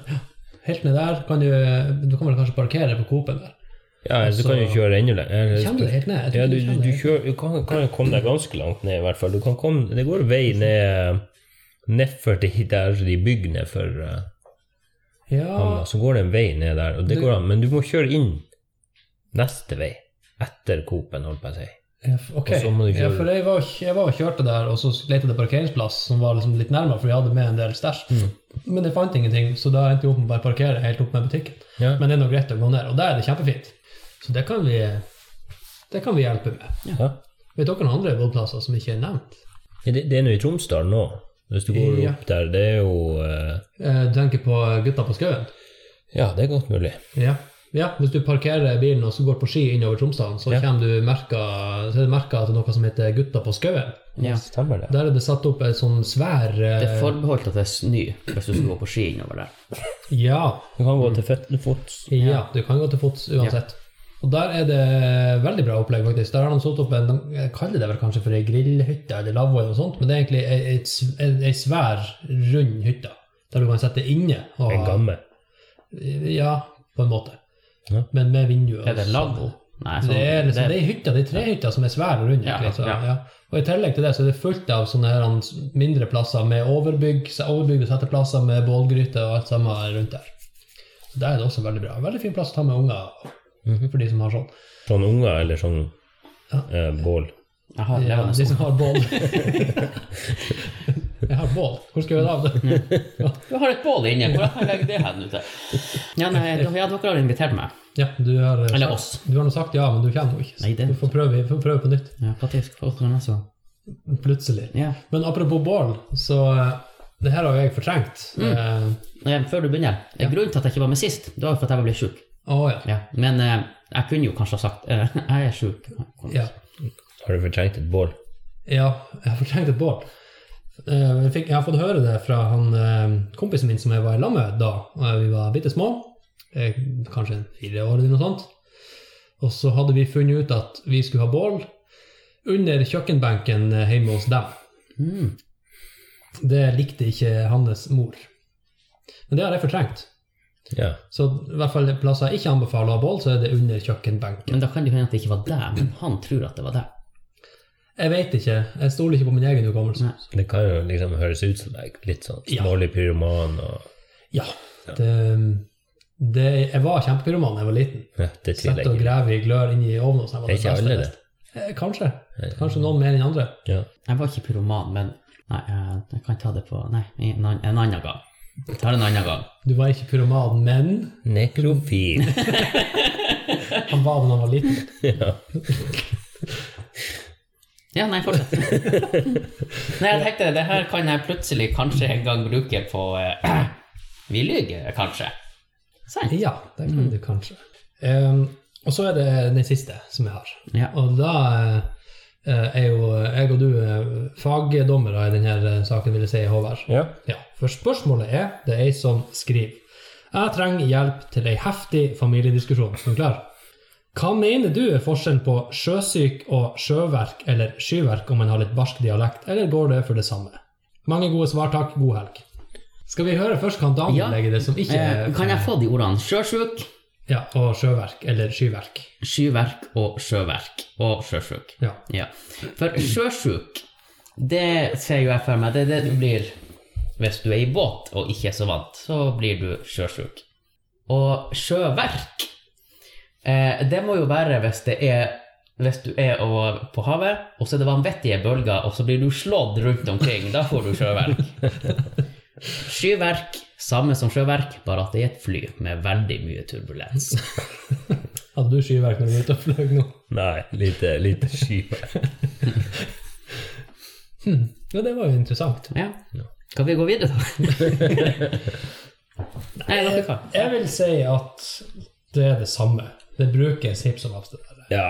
Speaker 1: Helt ned der kan du Du kan vel kanskje parkere på Coop-en der.
Speaker 3: ja, så kan du
Speaker 1: Altså-
Speaker 3: kjøre enda lenger. Eller-
Speaker 1: Kjenner du helt ned? Jeg tror
Speaker 3: Ja, du,
Speaker 1: ikke
Speaker 3: du,
Speaker 1: kjenner
Speaker 3: du,
Speaker 1: det.
Speaker 3: kjører, du kan, kan komme deg ganske langt ned, i hvert fall. Du kan komme, det går vei ned nedfor de der de bygger nedfor eh,
Speaker 1: Ja,
Speaker 3: havna. Så går det en vei ned der, og det
Speaker 1: Det-
Speaker 3: går an. Men du må kjøre inn neste vei. Etter Coop-en, holdt på å si.
Speaker 1: ja, f- ok.
Speaker 3: Og så må du kjøre-
Speaker 1: Ja, for jeg var, jeg var og kjørte der, og så lette jeg etter parkeringsplass som var liksom litt nærmere, for jeg hadde med en del stæsj.
Speaker 3: Mm.
Speaker 1: Men jeg fant ingenting, så da endte jeg opp med å bare parkere helt opp med butikken.
Speaker 3: Ja.
Speaker 1: Men det er nå greit å gå ned, og der er det kjempefint. Så det kan vi, det kan vi hjelpe med.
Speaker 3: Ja.
Speaker 1: Vet dere noen andre bålplasser som ikke er nevnt?
Speaker 3: Ja, Det, det er nå i Tromsdalen nå. Hvis du går
Speaker 1: Ja.
Speaker 3: opp der, det er jo eh,
Speaker 1: Eh, Du tenker på Gutta på skauen?
Speaker 3: Ja, det er godt mulig.
Speaker 1: Ja. ja, hvis du parkerer bilen og så går på ski innover Tromsdalen, så,
Speaker 3: Ja.
Speaker 1: kommer du merka, så er det merka til noe som heter Gutta på skauen.
Speaker 2: Ja.
Speaker 3: Stemmer det.
Speaker 1: Der er det satt opp en sånn svær eh,
Speaker 2: Det er forbeholdt at det er snø hvis du skal gå på ski innover der.
Speaker 1: ja,
Speaker 3: Du kan gå til føttene fots.
Speaker 1: ja, du kan gå til fots uansett. Og der er det veldig bra opplegg, faktisk. Der har de satt opp en de kaller det vel kanskje for ei grillhytte eller lavvo eller noe sånt, men det er egentlig ei- et sv- en- ei svær, rund hytte der du kan sitte inne. Og,
Speaker 3: En gammel.
Speaker 1: Ja, på en måte.
Speaker 3: Ja.
Speaker 1: Men med vinduer.
Speaker 2: Er det
Speaker 1: og sånn.
Speaker 2: lavvo? Nei,
Speaker 1: Det er, liksom, det
Speaker 2: det,
Speaker 1: er hytter, det er tre hytter som er svære rundt.
Speaker 2: Ja,
Speaker 1: egentlig, så,
Speaker 2: ja.
Speaker 1: ja. Og I tillegg til det så er det fullt av sånne her hans mindre plasser med overbygg, se- overbygg og setteplasser med bålgryter og alt sammen rundt der. Så Der er det også veldig bra. Veldig fin plass å ta med unger
Speaker 2: Mhm.
Speaker 1: for de som har sånn.
Speaker 3: Sånn unger eller sånn
Speaker 1: Ja.
Speaker 3: eh, bål.
Speaker 2: jeg har
Speaker 1: Ja,
Speaker 2: levende
Speaker 1: de
Speaker 2: sko.
Speaker 1: som har bål. Jeg har bål. Hvor skal vi da av det?
Speaker 2: Du har et bål inne, hvor kan jeg legge det hen ute? Ja, nei, da- ja, dere har invitert meg.
Speaker 1: Ja, du har, eh,
Speaker 2: Eller
Speaker 1: sagt-
Speaker 2: oss.
Speaker 1: Du har nå sagt ja, men du kommer jo ikke. så
Speaker 2: Nei, det-
Speaker 1: Du får prøve, får prøve på nytt.
Speaker 2: Ja, når skal dere neste gang?
Speaker 1: Plutselig.
Speaker 2: Ja.
Speaker 1: Men apropos bål, så eh, det her har jo jeg fortrengt. Eh,
Speaker 2: Eh, Før du begynner, eh, grunnen til at jeg ikke var med sist, det var for at jeg ble sjuk.
Speaker 1: Å ja.
Speaker 2: Ja. Men eh, jeg kunne jo kanskje ha sagt eh, jeg er sjuk.
Speaker 1: Ja.
Speaker 3: Har du fortrengt et bål?
Speaker 1: ja, jeg har fortrengt et bål. Eh, Jeg, fikk, jeg har fått høre det fra han eh, kompisen min som jeg var i lag med da eh, vi var bitte små. eh, Kanskje en fire år eller noe sånt. Og så hadde vi funnet ut at vi skulle ha bål under kjøkkenbenken eh, hjemme hos dem.
Speaker 2: Mm.
Speaker 1: Det likte ikke hans mor. Men det har jeg fortrengt.
Speaker 3: Ja.
Speaker 1: Så i hvert fall plasser jeg ikke anbefaler å ha bål, så er det under kjøkkenbenken.
Speaker 2: Men da kan det hende at det ikke var deg, men han tror at det var deg.
Speaker 1: Jeg vet ikke. Jeg stoler ikke på min egen hukommelse.
Speaker 2: Nei.
Speaker 3: Det kan jo liksom høres ut som deg. Litt sånn
Speaker 1: Ja.
Speaker 3: smålig pyroman og
Speaker 1: Ja. Det, det, jeg var kjempepyroman da jeg var liten.
Speaker 3: ja, Det
Speaker 1: Sett
Speaker 3: tviler
Speaker 1: og
Speaker 3: jeg ikke.
Speaker 1: grave i glør inni ovnen. og sånn,
Speaker 3: Er
Speaker 1: beste
Speaker 3: ikke alle
Speaker 1: jeg
Speaker 3: det?
Speaker 1: visste. Eh, Kanskje. Kanskje noen mer enn andre.
Speaker 3: Ja.
Speaker 2: Jeg var ikke pyroman, men nei, eh, jeg kan ta det på Nei, en annen, en annen gang. Jeg tar det en annen gang.
Speaker 1: Du var ikke pyroman, men
Speaker 3: Nekrofil.
Speaker 1: han var det da han var liten.
Speaker 3: ja.
Speaker 2: Ja, nei, fortsett. nei, jeg tenkte det her kan jeg plutselig kanskje en gang bruke på eh, Vi lyver, kanskje. Sant?
Speaker 1: Ja, det kan
Speaker 3: Mm.
Speaker 1: du kanskje. Eh, og så er det den siste som jeg har.
Speaker 2: Ja.
Speaker 1: Og da eh, er jo jeg og du eh, fagdommere i denne saken, vil jeg si, Håvard.
Speaker 3: ja.
Speaker 1: Ja, for spørsmålet er det er ei som skriver. Jeg trenger hjelp til ei heftig familiediskusjon. Er du klar? Hva mener du er forskjellen på sjøsyk og sjøverk eller skyverk om en har litt barsk dialekt, eller går det for det samme? Mange gode svar, takk. God helg. Skal vi høre først hva Daniel
Speaker 2: Ja.
Speaker 1: legger i det som ikke
Speaker 2: Eh,
Speaker 1: er
Speaker 2: kan jeg få de ordene sjøsjuk,
Speaker 1: Ja, og sjøverk eller skyverk.
Speaker 2: skyverk og sjøverk og sjøsjuk?
Speaker 1: Ja.
Speaker 2: Ja. For sjøsjuk, det ser jo jeg for meg, det er det du blir hvis du er i båt og ikke er så vant, så blir du sjøsjuk. Og sjøverk, eh, det må jo være hvis det er hvis du er og- på havet, og så er det vanvittige bølger, og så blir du slått rundt omkring. Da får du sjøverk. Skyverk, samme som sjøverk, bare at det er et fly med veldig mye turbulens.
Speaker 1: Hadde du skyverk når du var ute og fløy nå?
Speaker 3: Nei, lite, lite skyver.
Speaker 1: Ja, det var jo interessant.
Speaker 2: Ja. Kan vi gå videre, da? Nei, dere kan.
Speaker 1: Jeg vil si at det er det samme. Det brukes hipp som happ. det der.
Speaker 3: Ja.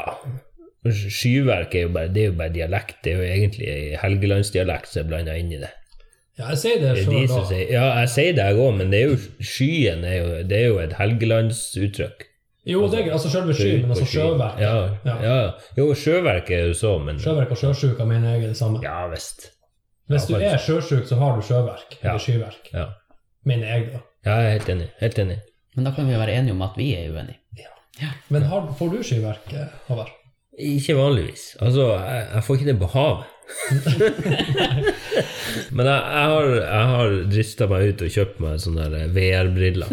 Speaker 3: Skyverk er jo bare, det er jo bare dialekt. Det er jo egentlig helgelandsdialekt som er blanda inn i det.
Speaker 1: Ja, jeg sier det
Speaker 3: Det er
Speaker 1: sjøl
Speaker 3: de som
Speaker 1: da.
Speaker 3: sier, ja, jeg sier det, jeg òg, men det er jo, skyen er jo, det er jo et helgelandsuttrykk.
Speaker 1: Jo, det er gøy. Altså sjølve sky, men altså sjøverk.
Speaker 3: Ja,
Speaker 1: Ja.
Speaker 3: ja. Jo, sjøverk er jo så, men
Speaker 1: Sjøverk og sjøsjuka mener jeg er det samme.
Speaker 3: Ja visst.
Speaker 1: Hvis du
Speaker 3: ja,
Speaker 1: er sjøsjuk, så har du sjøverk
Speaker 3: Ja.
Speaker 1: eller skyverk.
Speaker 3: Ja.
Speaker 1: Mener jeg, da.
Speaker 3: ja, jeg er helt enig. Helt enig.
Speaker 2: Men da kan vi være enige om at vi er uenige.
Speaker 1: Men har, får du skyverk, eh, Håvard?
Speaker 3: Ikke vanligvis. Altså, jeg, jeg får ikke det på havet. Men jeg, jeg har, jeg har drista meg ut og kjøpt meg sånne der VR-briller.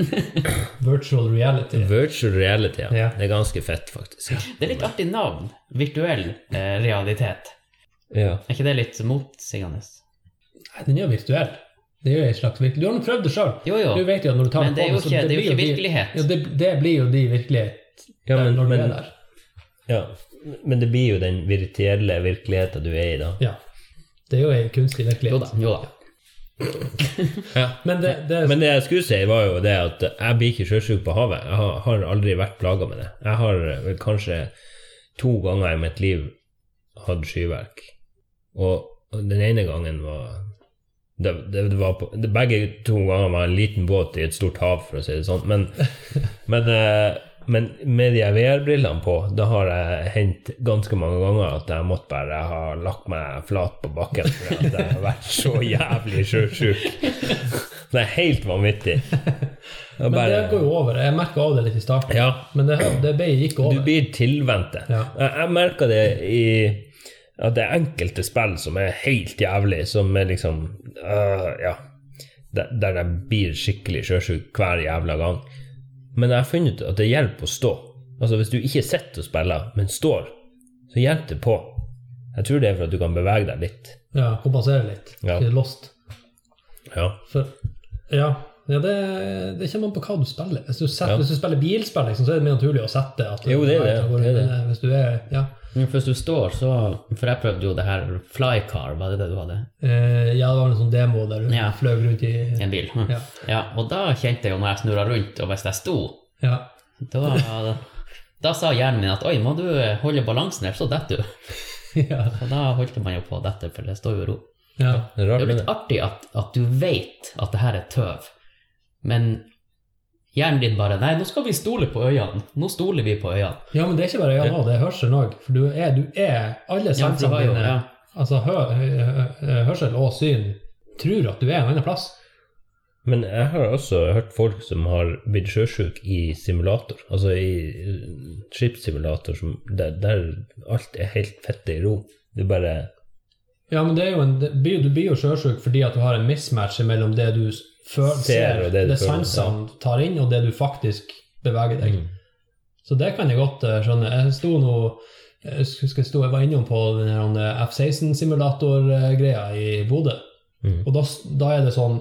Speaker 1: Virtual reality.
Speaker 2: Mm.
Speaker 3: Virtual reality, ja.
Speaker 1: Ja.
Speaker 3: Det er ganske fett, faktisk.
Speaker 2: Det er litt artig navn. Virtuell eh, realitet.
Speaker 3: Ja.
Speaker 2: Er ikke det litt motsigende?
Speaker 1: Nei, den er jo virtuell. Det er jo en slags virkelig. Du har nå prøvd det sjøl.
Speaker 2: Jo, jo.
Speaker 1: Du vet jo at når du tar
Speaker 2: Men
Speaker 1: det på
Speaker 2: det er jo
Speaker 1: deg, så
Speaker 2: ikke, det er jo
Speaker 1: blir
Speaker 2: ikke
Speaker 1: de-
Speaker 2: virkelighet.
Speaker 1: Ja, det, det blir jo de virkelighet
Speaker 3: Ja, men,
Speaker 1: når du
Speaker 3: men,
Speaker 1: er der.
Speaker 3: ja. men det blir jo den virtuelle virkeligheten du er i da.
Speaker 1: Ja. Det er jo en kunstig
Speaker 2: Jo
Speaker 1: virkelighet.
Speaker 2: da. jo da.
Speaker 1: Men det, det er
Speaker 3: Men det jeg skulle si, var jo det at jeg blir ikke sjøsjuk på havet. Jeg har, har aldri vært plaga med det. Jeg har vel kanskje to ganger i mitt liv hatt skyverk. Og og den ene gangen var det, det, det var på, det, Begge to ganger var en liten båt i et stort hav, for å si det sånn. Men, men, eh, men med de her VR-brillene på, da har jeg hendt ganske mange ganger at jeg måtte bare ha lagt meg flat på bakken fordi at jeg har vært så jævlig sjøsjuk. Det er helt vanvittig. Det er
Speaker 1: Men det
Speaker 3: bare,
Speaker 1: går jo over. Jeg merka av det litt i starten.
Speaker 3: Ja,
Speaker 1: Men det, det ble- gikk
Speaker 3: du
Speaker 1: over.
Speaker 3: blir tilvendt det.
Speaker 1: Ja.
Speaker 3: Jeg, jeg merker det i at det er enkelte spill som er helt jævlig, som er liksom øh, Ja. Der, der jeg blir skikkelig sjøsjuk hver jævla gang. Men jeg har funnet ut at det hjelper å stå. Altså Hvis du ikke sitter og spiller, men står, så hjelper det på. Jeg tror det er for at du kan bevege deg litt.
Speaker 1: Ja, kompensere litt.
Speaker 3: Ja.
Speaker 1: Ikke lost.
Speaker 3: Ja.
Speaker 1: For, ja, ja det, det kommer an på hva du spiller. Hvis du, setter,
Speaker 3: Ja.
Speaker 1: hvis du spiller bilspill, liksom, så er det mer naturlig å sette at
Speaker 3: Jo, det er det.
Speaker 1: Går,
Speaker 3: Det er det.
Speaker 1: men, eh, Hvis du er Ja,
Speaker 2: Men Hvis du står, så For jeg prøvde jo det her flycar, var det det du hadde?
Speaker 1: Eh, ja det var en sånn demo der du
Speaker 2: Ja.
Speaker 1: fløy rundt i
Speaker 2: En bil.
Speaker 1: Ja.
Speaker 2: Ja, og da kjente jeg jo når jeg snurra rundt, og hvis jeg sto,
Speaker 1: ja.
Speaker 2: da, da sa hjernen min at oi, må du holde balansen, ellers så detter du.
Speaker 1: ja.
Speaker 2: Og da holdt man jo på å dette, for det står jo i ro.
Speaker 1: ja.
Speaker 3: Det er
Speaker 2: Det
Speaker 3: rart,
Speaker 2: er jo
Speaker 3: det.
Speaker 2: litt artig at, at du vet at det her er tøv, men hjernen din bare Nei, nå skal vi stole på øynene. Nå stoler vi på øynene.
Speaker 1: Ja, men det er ikke bare øynene, det er hørselen òg. For du er, du er Alle
Speaker 2: Ja, for det
Speaker 1: sansene
Speaker 2: var jo,
Speaker 1: dine,
Speaker 2: ja.
Speaker 1: altså hø, hø, hø, hørsel og syn, tror at du er en annen plass.
Speaker 3: Men jeg har også hørt folk som har blitt sjøsjuk i simulator, altså i eh, skipssimulator, som, der, der alt er helt fette i ro. Du bare
Speaker 1: Ja, men det er jo en, det blir, du blir jo sjøsjuk fordi at du har en mismatch mellom det du s- føl,
Speaker 3: Ser
Speaker 1: ser,
Speaker 3: og
Speaker 1: det,
Speaker 3: det du føler,
Speaker 1: sansene tar inn, og det du faktisk beveger deg. Så det kan jeg godt eh, skjønne. Jeg sto nå jeg husker jeg, sto, jeg var innom på den her eh, F-16-simulator-greia eh, i Bodø.
Speaker 3: Mm.
Speaker 1: Og da, s- da er det sånn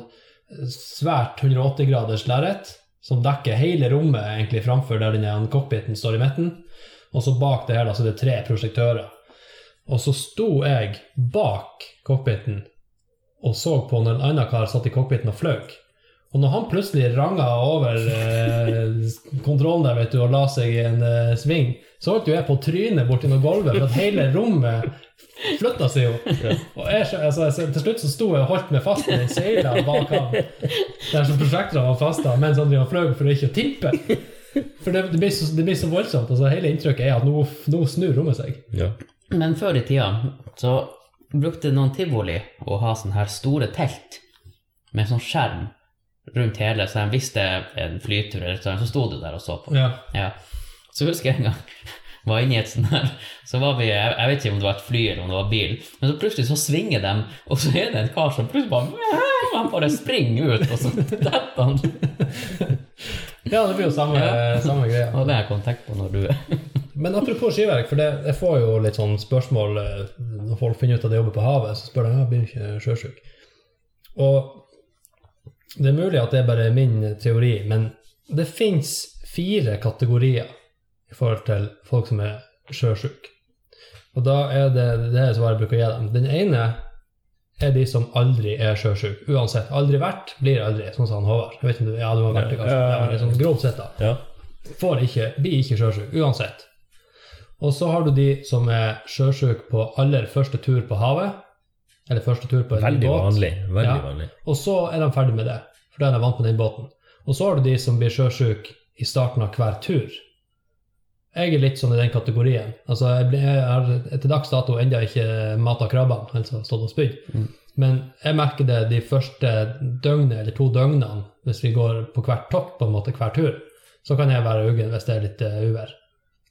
Speaker 1: svært 180-graders lerret som dekker hele rommet egentlig framfor der den her cockpiten står i midten. Og så bak det her da, så er det tre prosjektører. Og så sto jeg bak cockpiten og så på når en annen kar satt i cockpiten og fløy. Og når han plutselig ranga over eh, kontrollen der vet du, og la seg i en eh, sving, så holdt jo jeg på trynet borti noe gulvet, for at hele rommet flytta seg jo. Og jeg, skjø- altså, jeg, til slutt så sto jeg og holdt meg fast i seila bak han, der som prosjektene var fasta, mens han drev og fløy for ikke å tippe. For det, det, blir så, det blir så voldsomt. altså Hele inntrykket er at nå, nå snur rommet seg.
Speaker 3: Ja.
Speaker 2: Men før i tida så brukte noen tivoli å ha sånne her store telt med sånn skjerm rundt hele, så de visste en flytur eller sånn, så sto du der og så på.
Speaker 1: Ja.
Speaker 2: Ja. Så husker jeg en gang var inne i et sånt her, så var vi, jeg, jeg vet ikke om det var et fly eller om det var bil, men så plutselig så svinger de, og så er det en kar som plutselig bare, han bare springer ut, og så detter han.
Speaker 1: ja, det blir jo samme, samme greia.
Speaker 2: Og det har jeg kontakt på når du er.
Speaker 1: Men apropos skiverk, for det, jeg får jo litt sånn spørsmål eh, når folk finner ut at de jobber på havet, så spør de ja, blir du ikke sjøsjuk. Og det er mulig at det er bare min teori, men det fins fire kategorier i forhold til folk som er sjøsjuke. Og da er det det svaret jeg bruker å gi dem. Den ene er de som aldri er sjøsjuke. Uansett. Aldri vært, blir aldri, sånn sa han Håvard. Jeg vet ikke om du, ja, du har vært det, kanskje. Ja, men liksom, grovt sett, da
Speaker 3: Ja.
Speaker 1: får ikke, blir ikke sjøsjuk, uansett. Og så har du de som er sjøsjuk på aller første tur på havet, eller første tur på en ny
Speaker 3: Veldig
Speaker 1: båt,
Speaker 3: vanlig. Veldig
Speaker 1: Ja.
Speaker 3: vanlig.
Speaker 1: og så er de ferdig med det, for da er de vant med den båten. Og så har du de som blir sjøsjuk i starten av hver tur. Jeg er litt sånn i den kategorien. Altså, jeg, ble, jeg har til dags dato ennå ikke mata krabbene, altså stått og spydd.
Speaker 2: Mm.
Speaker 1: Men jeg merker det de første døgnet, eller to døgnene, hvis vi går på hvert tokt, på en måte, hver tur, så kan jeg være uggen hvis det er litt eh, uvær.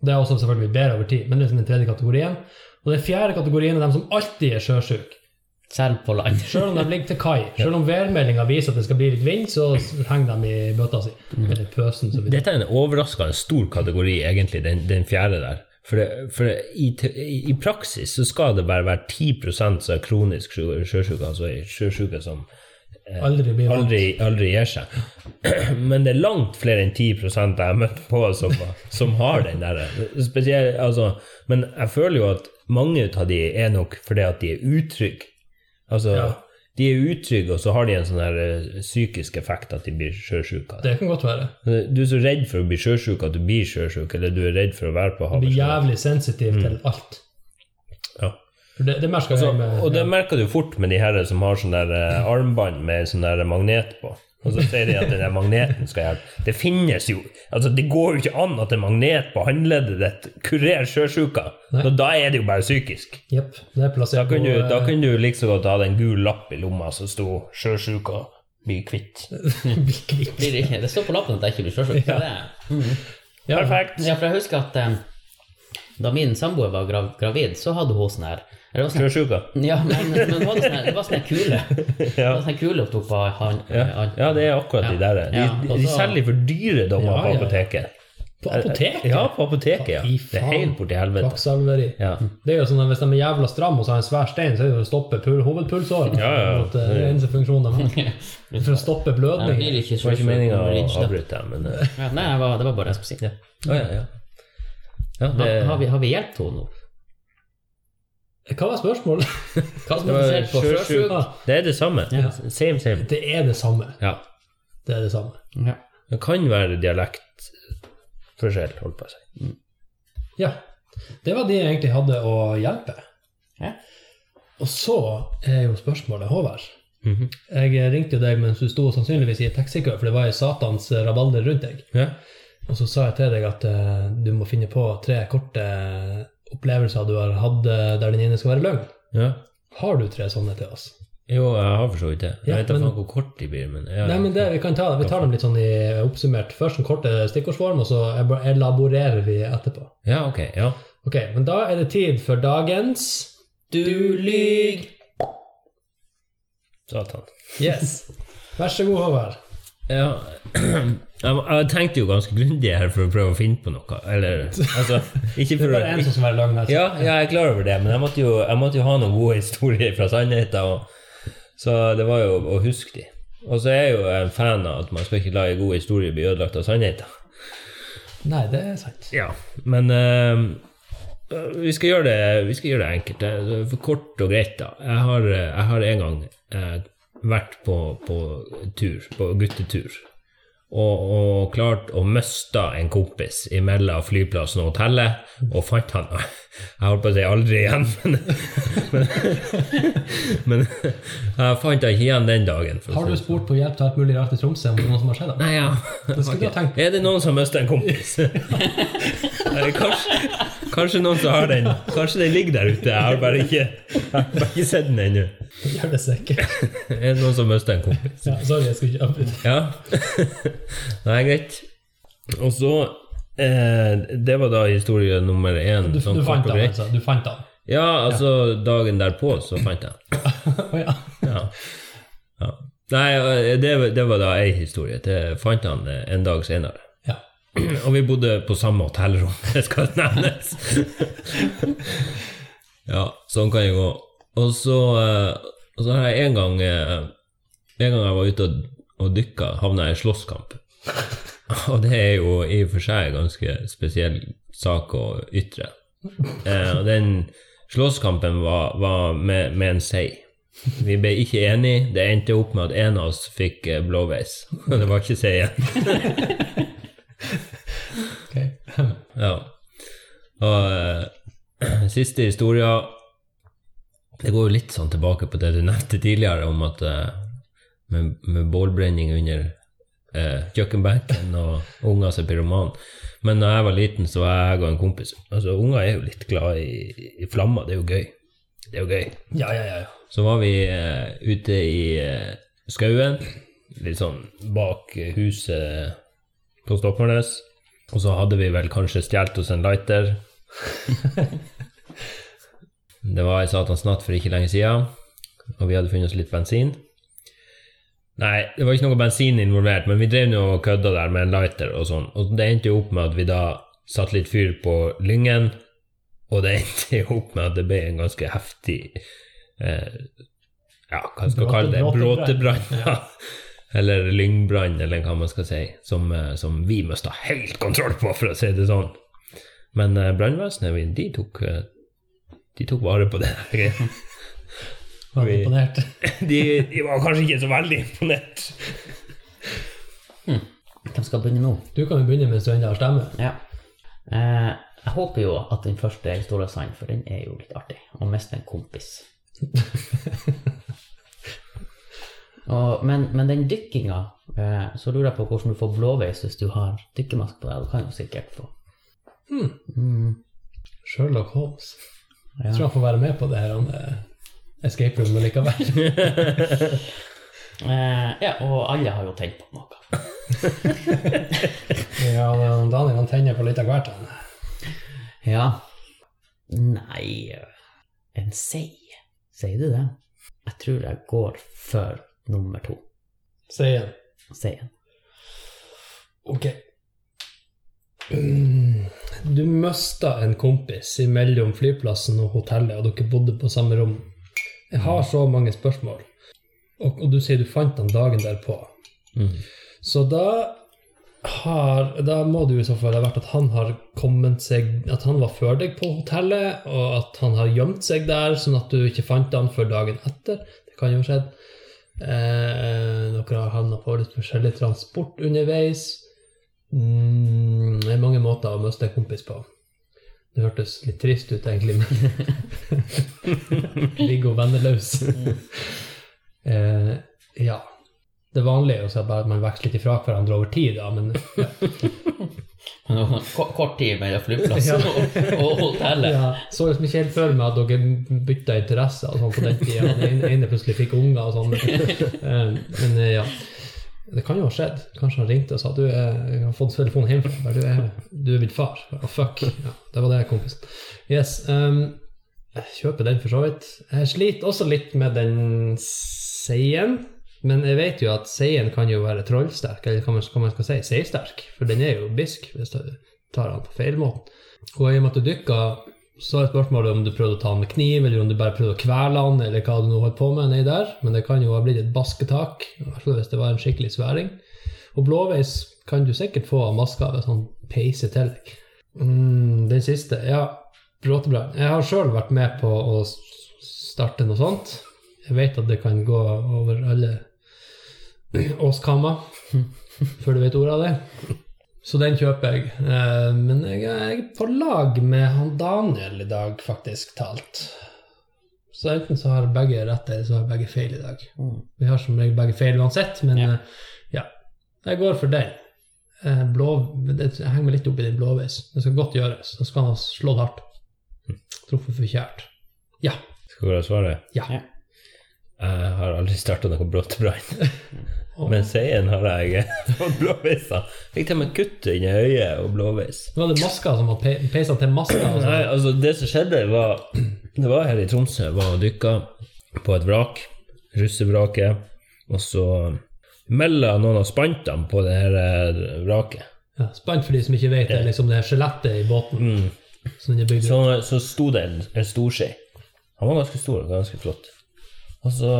Speaker 1: Det er også selvfølgelig bedre over tid, men det er liksom den tredje kategorien. Og den fjerde kategorien er dem som alltid er sjøsjuke.
Speaker 2: Selv på land.
Speaker 1: Selv om de ligger til kai, selv om værmeldinga viser at det skal bli litt vind, så henger de i bøtta si. Eller pøsen, så vidt.
Speaker 3: Dette er en overraskende stor kategori, egentlig, den, den fjerde der. For, det, for det, i, te- i i praksis så skal det bare være 10 som er kronisk sjø- sjøsjuke, altså sjøsjuke som
Speaker 1: Aldri blir vant.
Speaker 3: aldri, aldri gir seg. Men det er langt flere enn 10 jeg har møtt på som, som har den der. Spesielt, altså, men jeg føler jo at mange av de er nok fordi at de er utrygge. Altså,
Speaker 1: Ja.
Speaker 3: De er utrygge, og så har de en sånn her eh, psykisk effekt at de blir sjøsjuke.
Speaker 1: Det kan godt være.
Speaker 3: Du er så redd for å bli sjøsjuk at du blir sjøsjuk, eller du er redd for å være
Speaker 1: Blir
Speaker 3: på havet. selv.
Speaker 1: jævlig sensitiv til
Speaker 3: Mm.
Speaker 1: alt.
Speaker 3: Ja.
Speaker 1: For det, det merker jeg med
Speaker 3: Altså, Og det merker du fort med de her som har sånn der eh, armbånd med sånn der magnet på. Og så sier de at den der magneten skal hjelpe. Det finnes jo altså Det går jo ikke an at en magnet på håndleddet ditt kurerer sjøsjuka.
Speaker 1: Nei.
Speaker 3: Da, da er det jo bare psykisk.
Speaker 1: Jepp. Det er
Speaker 3: Da
Speaker 1: plassert
Speaker 3: kunne du, da
Speaker 1: eh,
Speaker 3: kunne du like så godt ha en gul lapp i lomma som sto 'sjøsjuka bli kvitt'.
Speaker 1: eh, bli kvitt.
Speaker 2: Blir ikke, det står på lappen at jeg ikke blir sjøsjuk. så det- Mm.
Speaker 1: Ja.
Speaker 3: Perfekt.
Speaker 2: Ja, for jeg husker at eh, da min samboer var grav, gravid, så hadde hun sånn her eller det var sånn
Speaker 3: Sjøsjuka.
Speaker 2: Ja, men, men hun hadde sånn her- det var sånn her kule. Det var sånn her kule hun tok på han.
Speaker 3: Ja.
Speaker 2: han-
Speaker 3: ja, det er akkurat de
Speaker 2: Ja.
Speaker 3: der. De,
Speaker 2: Ja,
Speaker 3: de,
Speaker 2: og
Speaker 3: de
Speaker 2: så-
Speaker 3: selger for dyre dommer
Speaker 1: altså- Ja, ja.
Speaker 3: på apoteket.
Speaker 1: På apoteket?
Speaker 3: Ja, på apoteket. ja.
Speaker 1: Fy
Speaker 3: Det er
Speaker 1: faen.
Speaker 3: helt borti helvete.
Speaker 1: Kvakksalveri.
Speaker 3: Ja.
Speaker 1: Det er jo sånn at Hvis de er jævla stramme og så har en svær stein, så er det for å stoppe pul hovedpulsåren.
Speaker 3: Ja, ja, ja.
Speaker 1: At, eh, Det er den eneste funksjonen de har. For å stoppe
Speaker 2: Nei, det blir
Speaker 1: blødning.
Speaker 2: ikke
Speaker 3: Det var
Speaker 2: sjøsjuk.
Speaker 3: ikke meninga
Speaker 2: det blir
Speaker 3: å
Speaker 2: ikke det.
Speaker 3: avbryte, deg, men eh,
Speaker 2: Ja, Nei, det var, det var bare jeg skulle si.
Speaker 3: Å ja, ja. ja det,
Speaker 2: Har, har, vi, har vi hjulpet henne nå?
Speaker 1: Hva var spørsmålet?
Speaker 2: Hva som
Speaker 3: Det var
Speaker 2: er basert på
Speaker 3: sjøsjuk.
Speaker 2: sjøsjuk?
Speaker 3: det er det samme.
Speaker 1: Ja.
Speaker 3: Same, same.
Speaker 1: Det er det samme.
Speaker 3: Ja.
Speaker 1: Det er det samme.
Speaker 2: Ja.
Speaker 3: Det kan være dialektforskjell, holdt på å si.
Speaker 1: Ja. Det var det jeg egentlig hadde å hjelpe.
Speaker 2: Ja.
Speaker 1: Og så er jo spørsmålet, Håvard
Speaker 3: Mhm.
Speaker 1: Jeg ringte jo deg mens du sto sannsynligvis i et taxikø, for det var ei satans rabalder rundt deg.
Speaker 3: ja.
Speaker 1: Og så sa jeg til deg at eh, du må finne på tre korte opplevelser du har hatt eh, der den ene skal være løgn.
Speaker 3: ja.
Speaker 1: Har du tre sånne til oss?
Speaker 3: Jo, jeg har for så vidt det. Jeg
Speaker 1: Ja,
Speaker 3: vet da
Speaker 1: men-
Speaker 3: faen hvor kort de blir, men ja.
Speaker 1: Nei, men det, vi, kan ta, vi tar dem litt sånn i oppsummert. Først en kort eh, stikkordsform, og så ebo- elaborerer vi etterpå.
Speaker 3: ja, ok. Ja.
Speaker 1: Ok, men da er det tid for dagens
Speaker 2: Du lyg!
Speaker 3: Satan.
Speaker 1: Yes. Vær så god, Håvard.
Speaker 3: Ja, jeg jeg tenkte jo ganske grundig her for å prøve å finne på noe. Eller, altså, ikke
Speaker 1: Det
Speaker 3: for
Speaker 1: er
Speaker 3: å...
Speaker 1: bare en som skal være lang. Altså.
Speaker 3: Ja, ja, jeg er klar over det, men jeg måtte jo, jeg måtte jo ha noen gode historier fra sannheten. Og, så det var jo å huske de. Og så er jeg jo en fan av at man skal ikke la en god historie bli ødelagt av sannheten.
Speaker 1: Nei, det er sant.
Speaker 3: Ja, men eh, vi, skal gjøre det, vi skal gjøre det enkelt. Det er for Kort og greit, da. Jeg har, eh, jeg har en gang eh, vært på, på tur, på guttetur, og, og klart å miste en kompis imellom flyplassen og hotellet, og fant han Jeg holdt på å si aldri igjen, men, men, men jeg fant han ikke igjen den dagen. for å
Speaker 1: Har
Speaker 3: si
Speaker 1: du
Speaker 3: det
Speaker 1: spurt på hjelp til alt mulig rart i Tromsø om det er noe som har skjedd? da?
Speaker 3: Nei, ja.
Speaker 1: skulle du ha tenkt.
Speaker 3: Er det noen som har mistet en kompis? Eller kanskje, kanskje noen som har den. Kanskje den ligger der ute. Jeg har bare ikke, jeg har bare ikke sett den ennå.
Speaker 1: Gjør det sikkert.
Speaker 3: Er det noen som har mistet en kompis?
Speaker 1: Ja, sorry, jeg skulle ikke avbryte.
Speaker 3: Ja. Nei, greit. Og så eh, Det var da historie nummer én.
Speaker 1: Du,
Speaker 3: sånn
Speaker 1: du
Speaker 3: kort
Speaker 1: fant
Speaker 3: og
Speaker 1: han,
Speaker 3: greit.
Speaker 1: altså. Du fant han.
Speaker 3: Ja, altså dagen derpå så fant jeg den.
Speaker 1: Å ja.
Speaker 3: Ja. ja. Nei, eh, det, det var da ei historie. Det fant han eh, en dag senere.
Speaker 1: Ja.
Speaker 3: Og vi bodde på samme hotellrom, det skal nevnes. ja, sånn kan det gå. Og så, eh, og så har jeg en gang eh, En gang jeg var ute og, og dykka, havna jeg i slåsskamp. Og det er jo i og for seg en ganske spesiell sak å ytre. Eh, og den slåsskampen var, var med, med en sei. Vi ble ikke enige. Det endte opp med at en av oss fikk eh, blåveis. Og det var ikke sei igjen. Ja. Og eh, siste historia Det går jo litt sånn tilbake på det du nevnte tidligere om at eh, med, med bålbrenning under eh, kjøkkenbenken og unger som er pyroman. Men da jeg var liten, så var jeg og en kompis Altså, unger er jo litt glad i, i flammer. Det er jo gøy. Det er jo gøy.
Speaker 1: Ja, ja, ja. ja.
Speaker 3: Så var vi eh, ute i eh, skauen, litt sånn bak eh, huset på Stokmarknes. Og så hadde vi vel kanskje stjålet oss en lighter. det var ei satans natt for ikke lenge siden, og vi hadde funnet oss litt bensin. Nei, det var ikke noe bensin involvert, men vi drev nå og kødda der med en lighter og sånn. Og det endte jo opp med at vi da satte litt fyr på lyngen, og det endte jo opp med at det ble en ganske heftig eh, Ja, hva skal man kalle det?
Speaker 1: Bråte-
Speaker 3: Bråtebrann. Ja. Eller lyngbrann, eller hva man skal si. Som, eh, som vi mista helt kontroll på, for å si det sånn. Men eh, brannvesenet, vi- de tok eh, De tok vare på det.
Speaker 1: Jeg var
Speaker 3: Vi-
Speaker 1: imponert.
Speaker 3: De, de var kanskje ikke så veldig imponert.
Speaker 2: Hvem skal begynne nå?
Speaker 1: Du kan jo begynne mens du ennå har stemme.
Speaker 2: Ja. Eh, jeg håper jo at den første er historien er sann, for den er jo litt artig. Og mest en kompis. og, men, men den dykkinga, eh, så lurer jeg på hvordan du får blåveis hvis du har dykkermaske på deg. Du kan jo sikkert få.
Speaker 1: Hmm.
Speaker 2: Mm,
Speaker 1: Sherlock Holmes.
Speaker 2: Ja.
Speaker 1: Jeg tror han får være med på det her han, eh, escape room likevel.
Speaker 2: eh, ja, og alle har jo tent på noe.
Speaker 1: ja, men Daniel han tenner på litt av hvert. han.
Speaker 2: Ja. Nei eh, En sei. Sier du det? Jeg tror jeg går for nummer to,
Speaker 1: Si igjen.
Speaker 2: seien.
Speaker 1: Ok. Mm. Du mista en kompis mellom flyplassen og hotellet, og dere bodde på samme rom. Jeg har så mange spørsmål, og, og du sier du fant han dagen derpå. Så da har Da må det jo i så fall ha vært at han har kommet seg At han var før deg på hotellet, og at han har gjemt seg der, sånn at du ikke fant han før dagen etter. Det kan jo ha skjedd. Eh, dere har havna på litt forskjellig transport underveis. Mm, det er mange måter å miste en kompis på. Det hørtes litt trist ut, egentlig, men Viggo venneløs. eh, ja. Det vanlige er jo så bare at man veksler litt ifra hverandre over tid, da, men
Speaker 2: Ko- Kort tid mellom flyplassen og, og hotellet.
Speaker 1: ja, så liksom ikke helt for meg at dere bytta interesser og sånn på den tida. Den ene- ene plutselig fikk unger og sånn. Eh, Men eh, ja. Det kan jo ha skjedd. Kanskje han ringte og sa at du eh, jeg har fått telefonen hjemmefra. bare Du er, du er min far. Å, fuck. Ja, det var det, kompisen. Yes. ehm, jeg kjøper den for så vidt. Jeg sliter også litt med den seien. Men jeg vet jo at seien kan jo være trollsterk, eller hva man, hva man skal si, seisterk. For den er jo bisk, hvis du tar den på feil måte. Og i og med at du dykka, så er spørsmålet om du prøvde å ta han med kniv, eller om du bare prøvde å kvele han, eller hva du nå holdt på med nedi der. Men det kan jo ha blitt et basketak, i hvert fall hvis det var en skikkelig sværing. Og blåveis kan du sikkert få av maska hvis han peiser til deg. Mm, den siste, ja. Bråtebrann. Jeg har sjøl vært med på å s- starte noe sånt. Jeg vet at det kan gå over alle åskammer før du vet ordet av det. Så den kjøper jeg. Eh, Men jeg er jeg er på lag med han Daniel i dag, faktisk talt. Så enten så har begge rett, eller så har begge feil i dag.
Speaker 2: Mm.
Speaker 1: Vi har som regel begge feil uansett, men
Speaker 2: Ja.
Speaker 1: eh, ja. Jeg går for den. Eh, Blå, det, jeg henger meg litt opp i den blåveis. Det skal godt gjøres. Da skal han ha slått hardt. Truffet for kjært. Ja.
Speaker 3: Skal du ha svaret?
Speaker 1: Ja.
Speaker 2: Ja.
Speaker 3: Jeg har aldri starta noe blåtebrann.
Speaker 1: Og,
Speaker 3: Men seien har jeg fått blåveis av. Fikk til og med kutt inni øyet og blåveis.
Speaker 1: var det maska som han pe peisa til maska? Altså.
Speaker 3: Nei, altså det som skjedde var Det var her i Tromsø, var og dykka på et vrak, russevraket, og så melda noen av spantene på det her eh, vraket.
Speaker 1: Ja, spent for de som ikke vet det, er liksom det her skjelettet i båten.
Speaker 3: Mm.
Speaker 1: Som den er bygd
Speaker 3: Så,
Speaker 1: av.
Speaker 3: så sto det en, en storskje. Han var ganske stor og ganske flott. Og så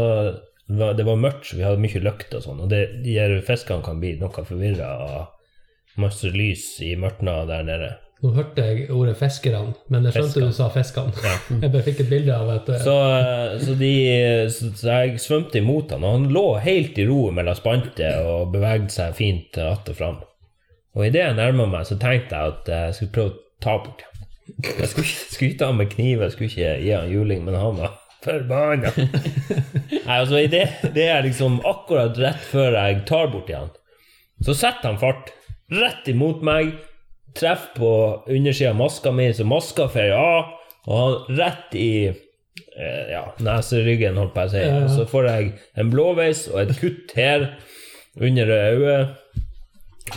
Speaker 3: var, Det var mørkt, så vi hadde mye lykt og sånn, og det, de her fiskene kan bli noe forvirra av masse lys i mørtna der nede.
Speaker 1: Nå hørte jeg ordet 'fiskerne', men jeg skjønte
Speaker 3: Fiskene.
Speaker 1: du sa 'fiskene'.
Speaker 3: Ja.
Speaker 1: Jeg bare fikk et bilde av et eh,
Speaker 3: Så, eh, så, de, så, så jeg svømte imot han, og han lå helt i ro mellom spanter og bevegde seg fint att og fram. Og idet jeg nærma meg, så tenkte jeg at eh, jeg skulle prøve å ta bort ham. Jeg skulle ikke skryte han med kniv, jeg skulle ikke gi han juling, men han var forbanna. Nei, altså, i det, det er liksom akkurat rett før jeg tar bort han, så setter han fart rett imot meg, treffer på undersida av maska mi, så maska fer av, og han rett i eh, ja, neseryggen, holdt på å si.
Speaker 1: Ja, ja.
Speaker 3: Og så får jeg en blåveis og et kutt her under øyet.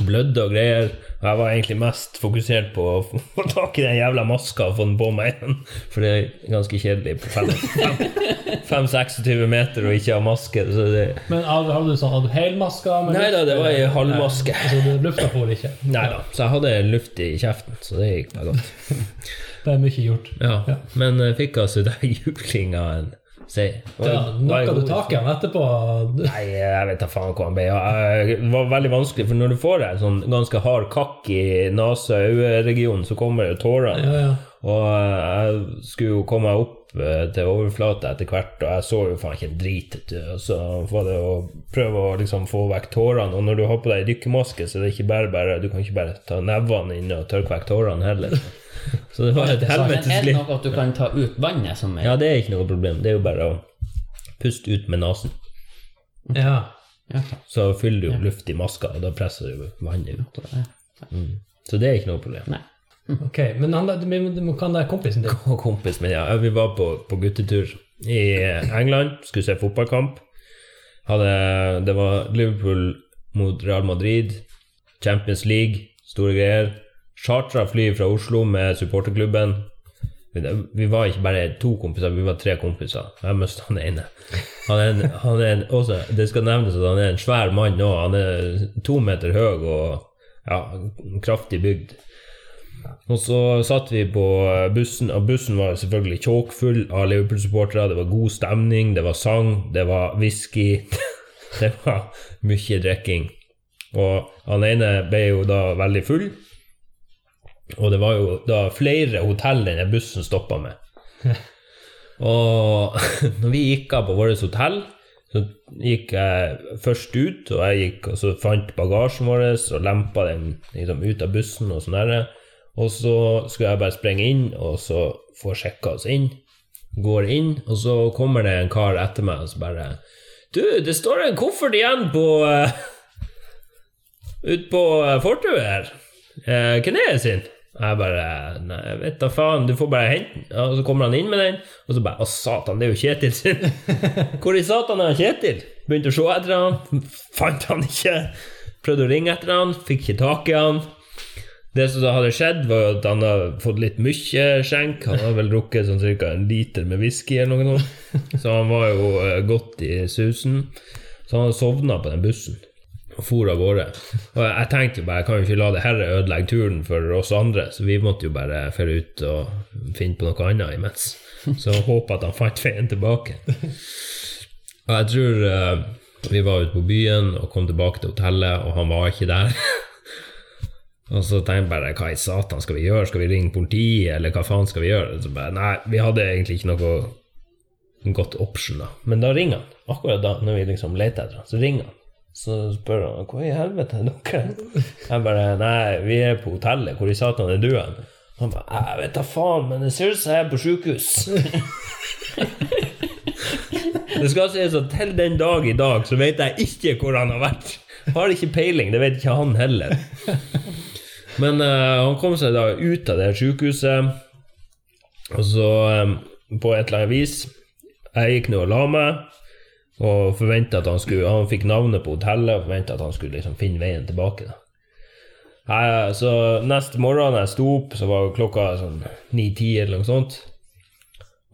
Speaker 3: Blødde og greier. Og jeg var egentlig mest fokusert på å få tak i den jævla maska og få den på meg igjen. For det er ganske kjedelig på fem- fem- 5-26 meter og ikke ha maske. Så det,
Speaker 1: Men hadde hadde du sånn hadde du helmaska? med
Speaker 3: nei da, det var ei halvmaske.
Speaker 1: luft? Så det- lufta for ikke?
Speaker 3: Nei da. Så jeg hadde luft i kjeften, så det gikk da godt.
Speaker 1: Det er mye gjort.
Speaker 3: Ja. Men jeg fikk altså den jublinga en seier.
Speaker 1: Ja, Knakka du tak i han etterpå?
Speaker 3: Nei, jeg vet da faen hvor han ble. av. Jeg- Det var veldig vanskelig, for når du får deg en sånn ganske hard kakk i nase- og øyeregionen, så kommer det jo tårene.
Speaker 1: Ja, ja.
Speaker 3: Og eh, jeg skulle jo komme meg opp eh, til overflata etter hvert, og jeg så jo faen ikke en drit. vet du. Og så var det å prøve å liksom få vekk tårene, og når du har på deg dykkermaske, så er det ikke bare bare Du kan ikke bare ta nevene inn og tørke vekk tårene heller. Så det var et
Speaker 2: Men
Speaker 3: helvetes
Speaker 2: er det
Speaker 3: liv.
Speaker 2: noe at du kan ta ut vannet som er
Speaker 3: Ja, det er ikke noe problem. Det er jo bare å puste ut med nesen.
Speaker 1: ja.
Speaker 2: Ja,
Speaker 3: Så fyller du jo luft i maska, og da presser du vannet ut.
Speaker 2: da-
Speaker 3: Så det er ikke noe problem.
Speaker 2: Nei.
Speaker 1: Ok, men han, der- men- men kan det kompisen din?
Speaker 3: og kompis min, ja. Vi var på, på guttetur i England, skulle se fotballkamp. Hadde, det var Liverpool mot Real Madrid, Champions League, store greier. Chartra fly fra Oslo med supporterklubben. Vi, vi var ikke bare to kompiser, vi var tre kompiser. Jeg mista han ene. Han er, en, han er en, også, det skal nevnes at han er en svær mann òg. Han er to meter høy og ja, kraftig bygd. Og så satt vi på bussen, og bussen var selvfølgelig tjåkfull av Liverpool-supportere. Det var god stemning, det var sang, det var whisky. Det var mye drikking. Og han ene ble jo da veldig full, og det var jo da flere hotell denne bussen stoppa med. Og når vi gikk av på vårt hotell, så gikk jeg først ut, og jeg gikk og så fant bagasjen vår og lempa den liksom, ut av bussen og sånn der. Og så skulle jeg bare sprenge inn, og så få sjekka oss inn. Går inn, og så kommer det en kar etter meg og så bare Du, det står en koffert igjen på eh, ut på eh, fortauet her. Eh, hvem er det sin? Jeg bare Nei, jeg vet da faen, du får bare hente den. Ja, Og så kommer han inn med den, og så bare Å, satan, det er jo Kjetil sin. Hvor i satan er han Kjetil? Begynte å se etter han, fant han ikke. Prøvde å ringe etter han, fikk ikke tak i han. Det som da hadde skjedd, var jo at han hadde fått litt mye skjenk. Han hadde vel drukket sånn cirka en liter med whisky eller noe sånt. Så han var jo eh, godt i susen. Så han sovna på den bussen og for av gårde. Og jeg jeg tenkte jo bare, jeg kan jo ikke la det her ødelegge turen for oss andre, så vi måtte jo bare fære ut og finne på noe annet imens. Så håpe at han fant veien tilbake. Og jeg tror eh, vi var ute på byen og kom tilbake til hotellet, og han var ikke der. Og så tenkte jeg bare hva i satan skal vi gjøre, skal vi ringe politiet, eller hva faen skal vi gjøre? Så bare, nei, vi hadde egentlig ikke noe godt option, da. Men da ringer han, akkurat da, når vi liksom leter etter han, så ringer han. Så spør han hvor i helvete er dere? Jeg bare nei, vi er på hotellet, hvor i satan er du hen? Han bare jeg vet da faen, men det ser ut som jeg er på sjukehus. det skal sies at til den dag i dag så vet jeg ikke hvor han har vært. Har ikke peiling, det vet ikke han heller. Men eh, han kom seg da ut av det sjukehuset, og så eh, på et eller annet vis Jeg gikk nå og la meg. Og forventa at han skulle Han fikk navnet på hotellet og forventa at han skulle liksom finne veien tilbake. da. Nei, eh, så neste morgen da jeg sto opp, så var klokka sånn 9-10 eller noe sånt.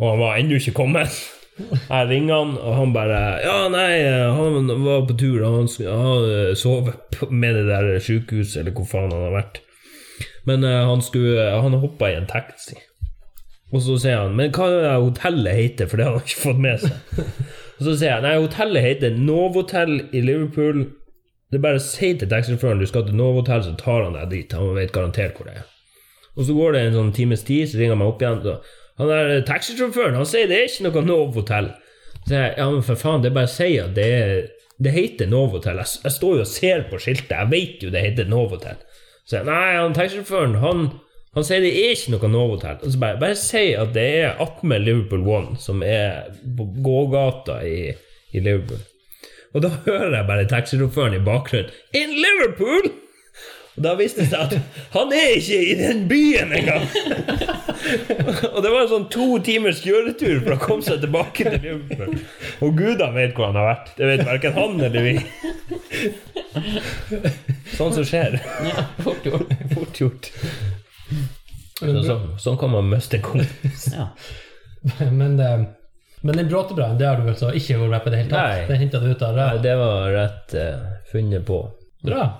Speaker 3: Og han var ennå ikke kommet. Jeg ringer han, og han bare Ja, nei, eh, han var på tur, og han, sk- han eh, sov p- med det der sjukehuset, eller hvor faen han har vært. Men eh, han skulle Han hoppa i en taxi. Og så sier han Men hva er det hotellet heter, for det har han ikke fått med seg. Og så sier jeg nei, hotellet heter Novotel i Liverpool. Det er bare å si til taxisjåføren du skal til Novo Hotel, så tar han deg dit. Han vet garantert hvor det er. Og så går det en sånn times tid, så ringer han meg opp igjen. Så han der eh, taxisjåføren, han sier det er ikke noe Novo Hotel. Så jeg, ja, men for faen, det er bare å si at det, er- det heter Novo Hotel. Jeg, s- jeg står jo og ser på skiltet, jeg vet jo det heter Novo Hotel. Så jeg, nei, han taxisjåføren, han, han sier det er ikke noe Novo Hotel. Og så bare, bare si at det er attmed Liverpool One, som er på gågata i, i Liverpool. Og da hører jeg bare taxisjåføren i bakgrunnen In Liverpool! Og da viste det seg at han er ikke i den byen engang! og det var en sånn to timers kjøretur for å komme seg tilbake til Liverpool. Og gudene vet hvor han har vært. Det vet verken han eller vi. sånn som skjer.
Speaker 2: Ja, fort gjort.
Speaker 3: Fort gjort. Så,
Speaker 1: altså.
Speaker 3: så- sånn kan man miste en kompis.
Speaker 2: Ja.
Speaker 1: Men, det, men den bråtebrannen, det har du altså ikke vært med på i det hele tatt?
Speaker 3: Nei.
Speaker 1: Den hentet du ut av
Speaker 3: Nei,
Speaker 1: ræva?
Speaker 3: Det var rett eh, funnet på.
Speaker 1: Bra.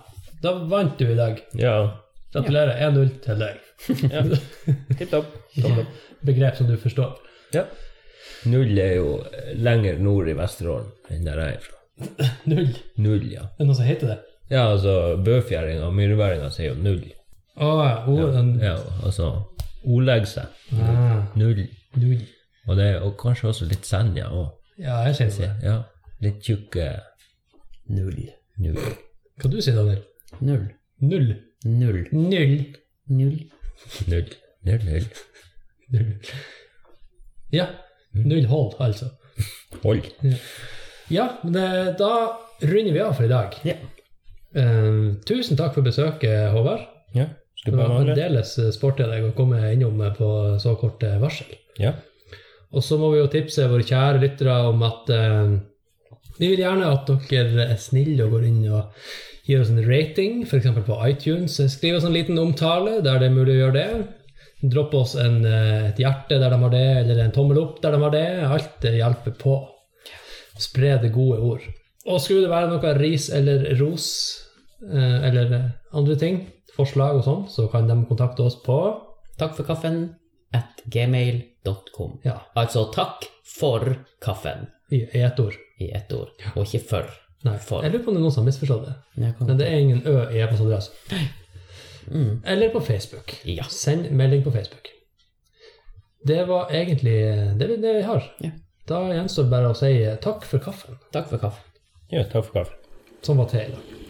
Speaker 1: Da vant du i dag.
Speaker 3: Ja.
Speaker 1: Gratulerer. 1-0 til deg.
Speaker 3: Tipp topp.
Speaker 1: Ikke begrep som du forstår.
Speaker 3: Ja. Null er jo lenger nord i Vesterålen enn der jeg er fra.
Speaker 1: Null.
Speaker 3: Null, ja.
Speaker 1: Er det noen som heter det?
Speaker 3: Ja, altså Bøfjæringa og myreværinga sier jo null.
Speaker 1: Å, oh, den
Speaker 3: Ja, altså ordlegge seg.
Speaker 1: ah,
Speaker 3: Null.
Speaker 1: Null.
Speaker 3: Og det er jo kanskje også litt Senja òg.
Speaker 1: Ja, jeg kjenner det.
Speaker 3: Ja. Litt tjukke
Speaker 2: Null.
Speaker 3: null.
Speaker 1: Hva du sier Daniel?
Speaker 2: Null.
Speaker 1: Null.
Speaker 2: Null.
Speaker 1: Null.
Speaker 2: Null.
Speaker 3: Null. Null, null.
Speaker 1: Null. Ja. Null hold, altså.
Speaker 3: Hold.
Speaker 1: Ja, men eh, da runder vi av for i dag.
Speaker 2: Ja.
Speaker 1: Eh, tusen takk for besøket, Håvard.
Speaker 3: Ja. Skal
Speaker 1: Det
Speaker 3: du
Speaker 1: var
Speaker 3: bare mangle?
Speaker 1: fremdeles eh, sporty av deg å komme innom på så kort eh, varsel.
Speaker 3: Ja.
Speaker 1: Og så må vi jo tipse våre kjære lyttere om at eh, vi vil gjerne at dere er snille og går inn og gir oss en rating, f.eks. på iTunes. Skriv oss en liten omtale der det er mulig å gjøre det. Dropp oss en, eh, et hjerte der de har det, eller en tommel opp der de har det. Alt det hjelper på. Spre det gode ord. Og skulle det være noe ris eller ros eh, eller eh, andre ting, forslag og sånn, så kan de kontakte oss på
Speaker 2: Takk for kaffen at gmail.com.
Speaker 1: ja,
Speaker 2: Altså takk for kaffen
Speaker 1: i i ett ord.
Speaker 2: i ett ord, og ikke for.
Speaker 1: Nei,
Speaker 2: For-
Speaker 1: jeg lurer på om det er noen som har misforstått det.
Speaker 2: Jeg kan-
Speaker 1: Men det er ingen Ø i Epos adresse. Eller på Facebook.
Speaker 2: Mm. Ja.
Speaker 1: Send melding på Facebook. Det var egentlig det vi, det vi har.
Speaker 2: Ja.
Speaker 1: Da gjenstår det bare å si eh, takk for kaffen,
Speaker 2: Takk for kaffen.
Speaker 3: ja. Takk for kaffen.
Speaker 1: som var til i dag.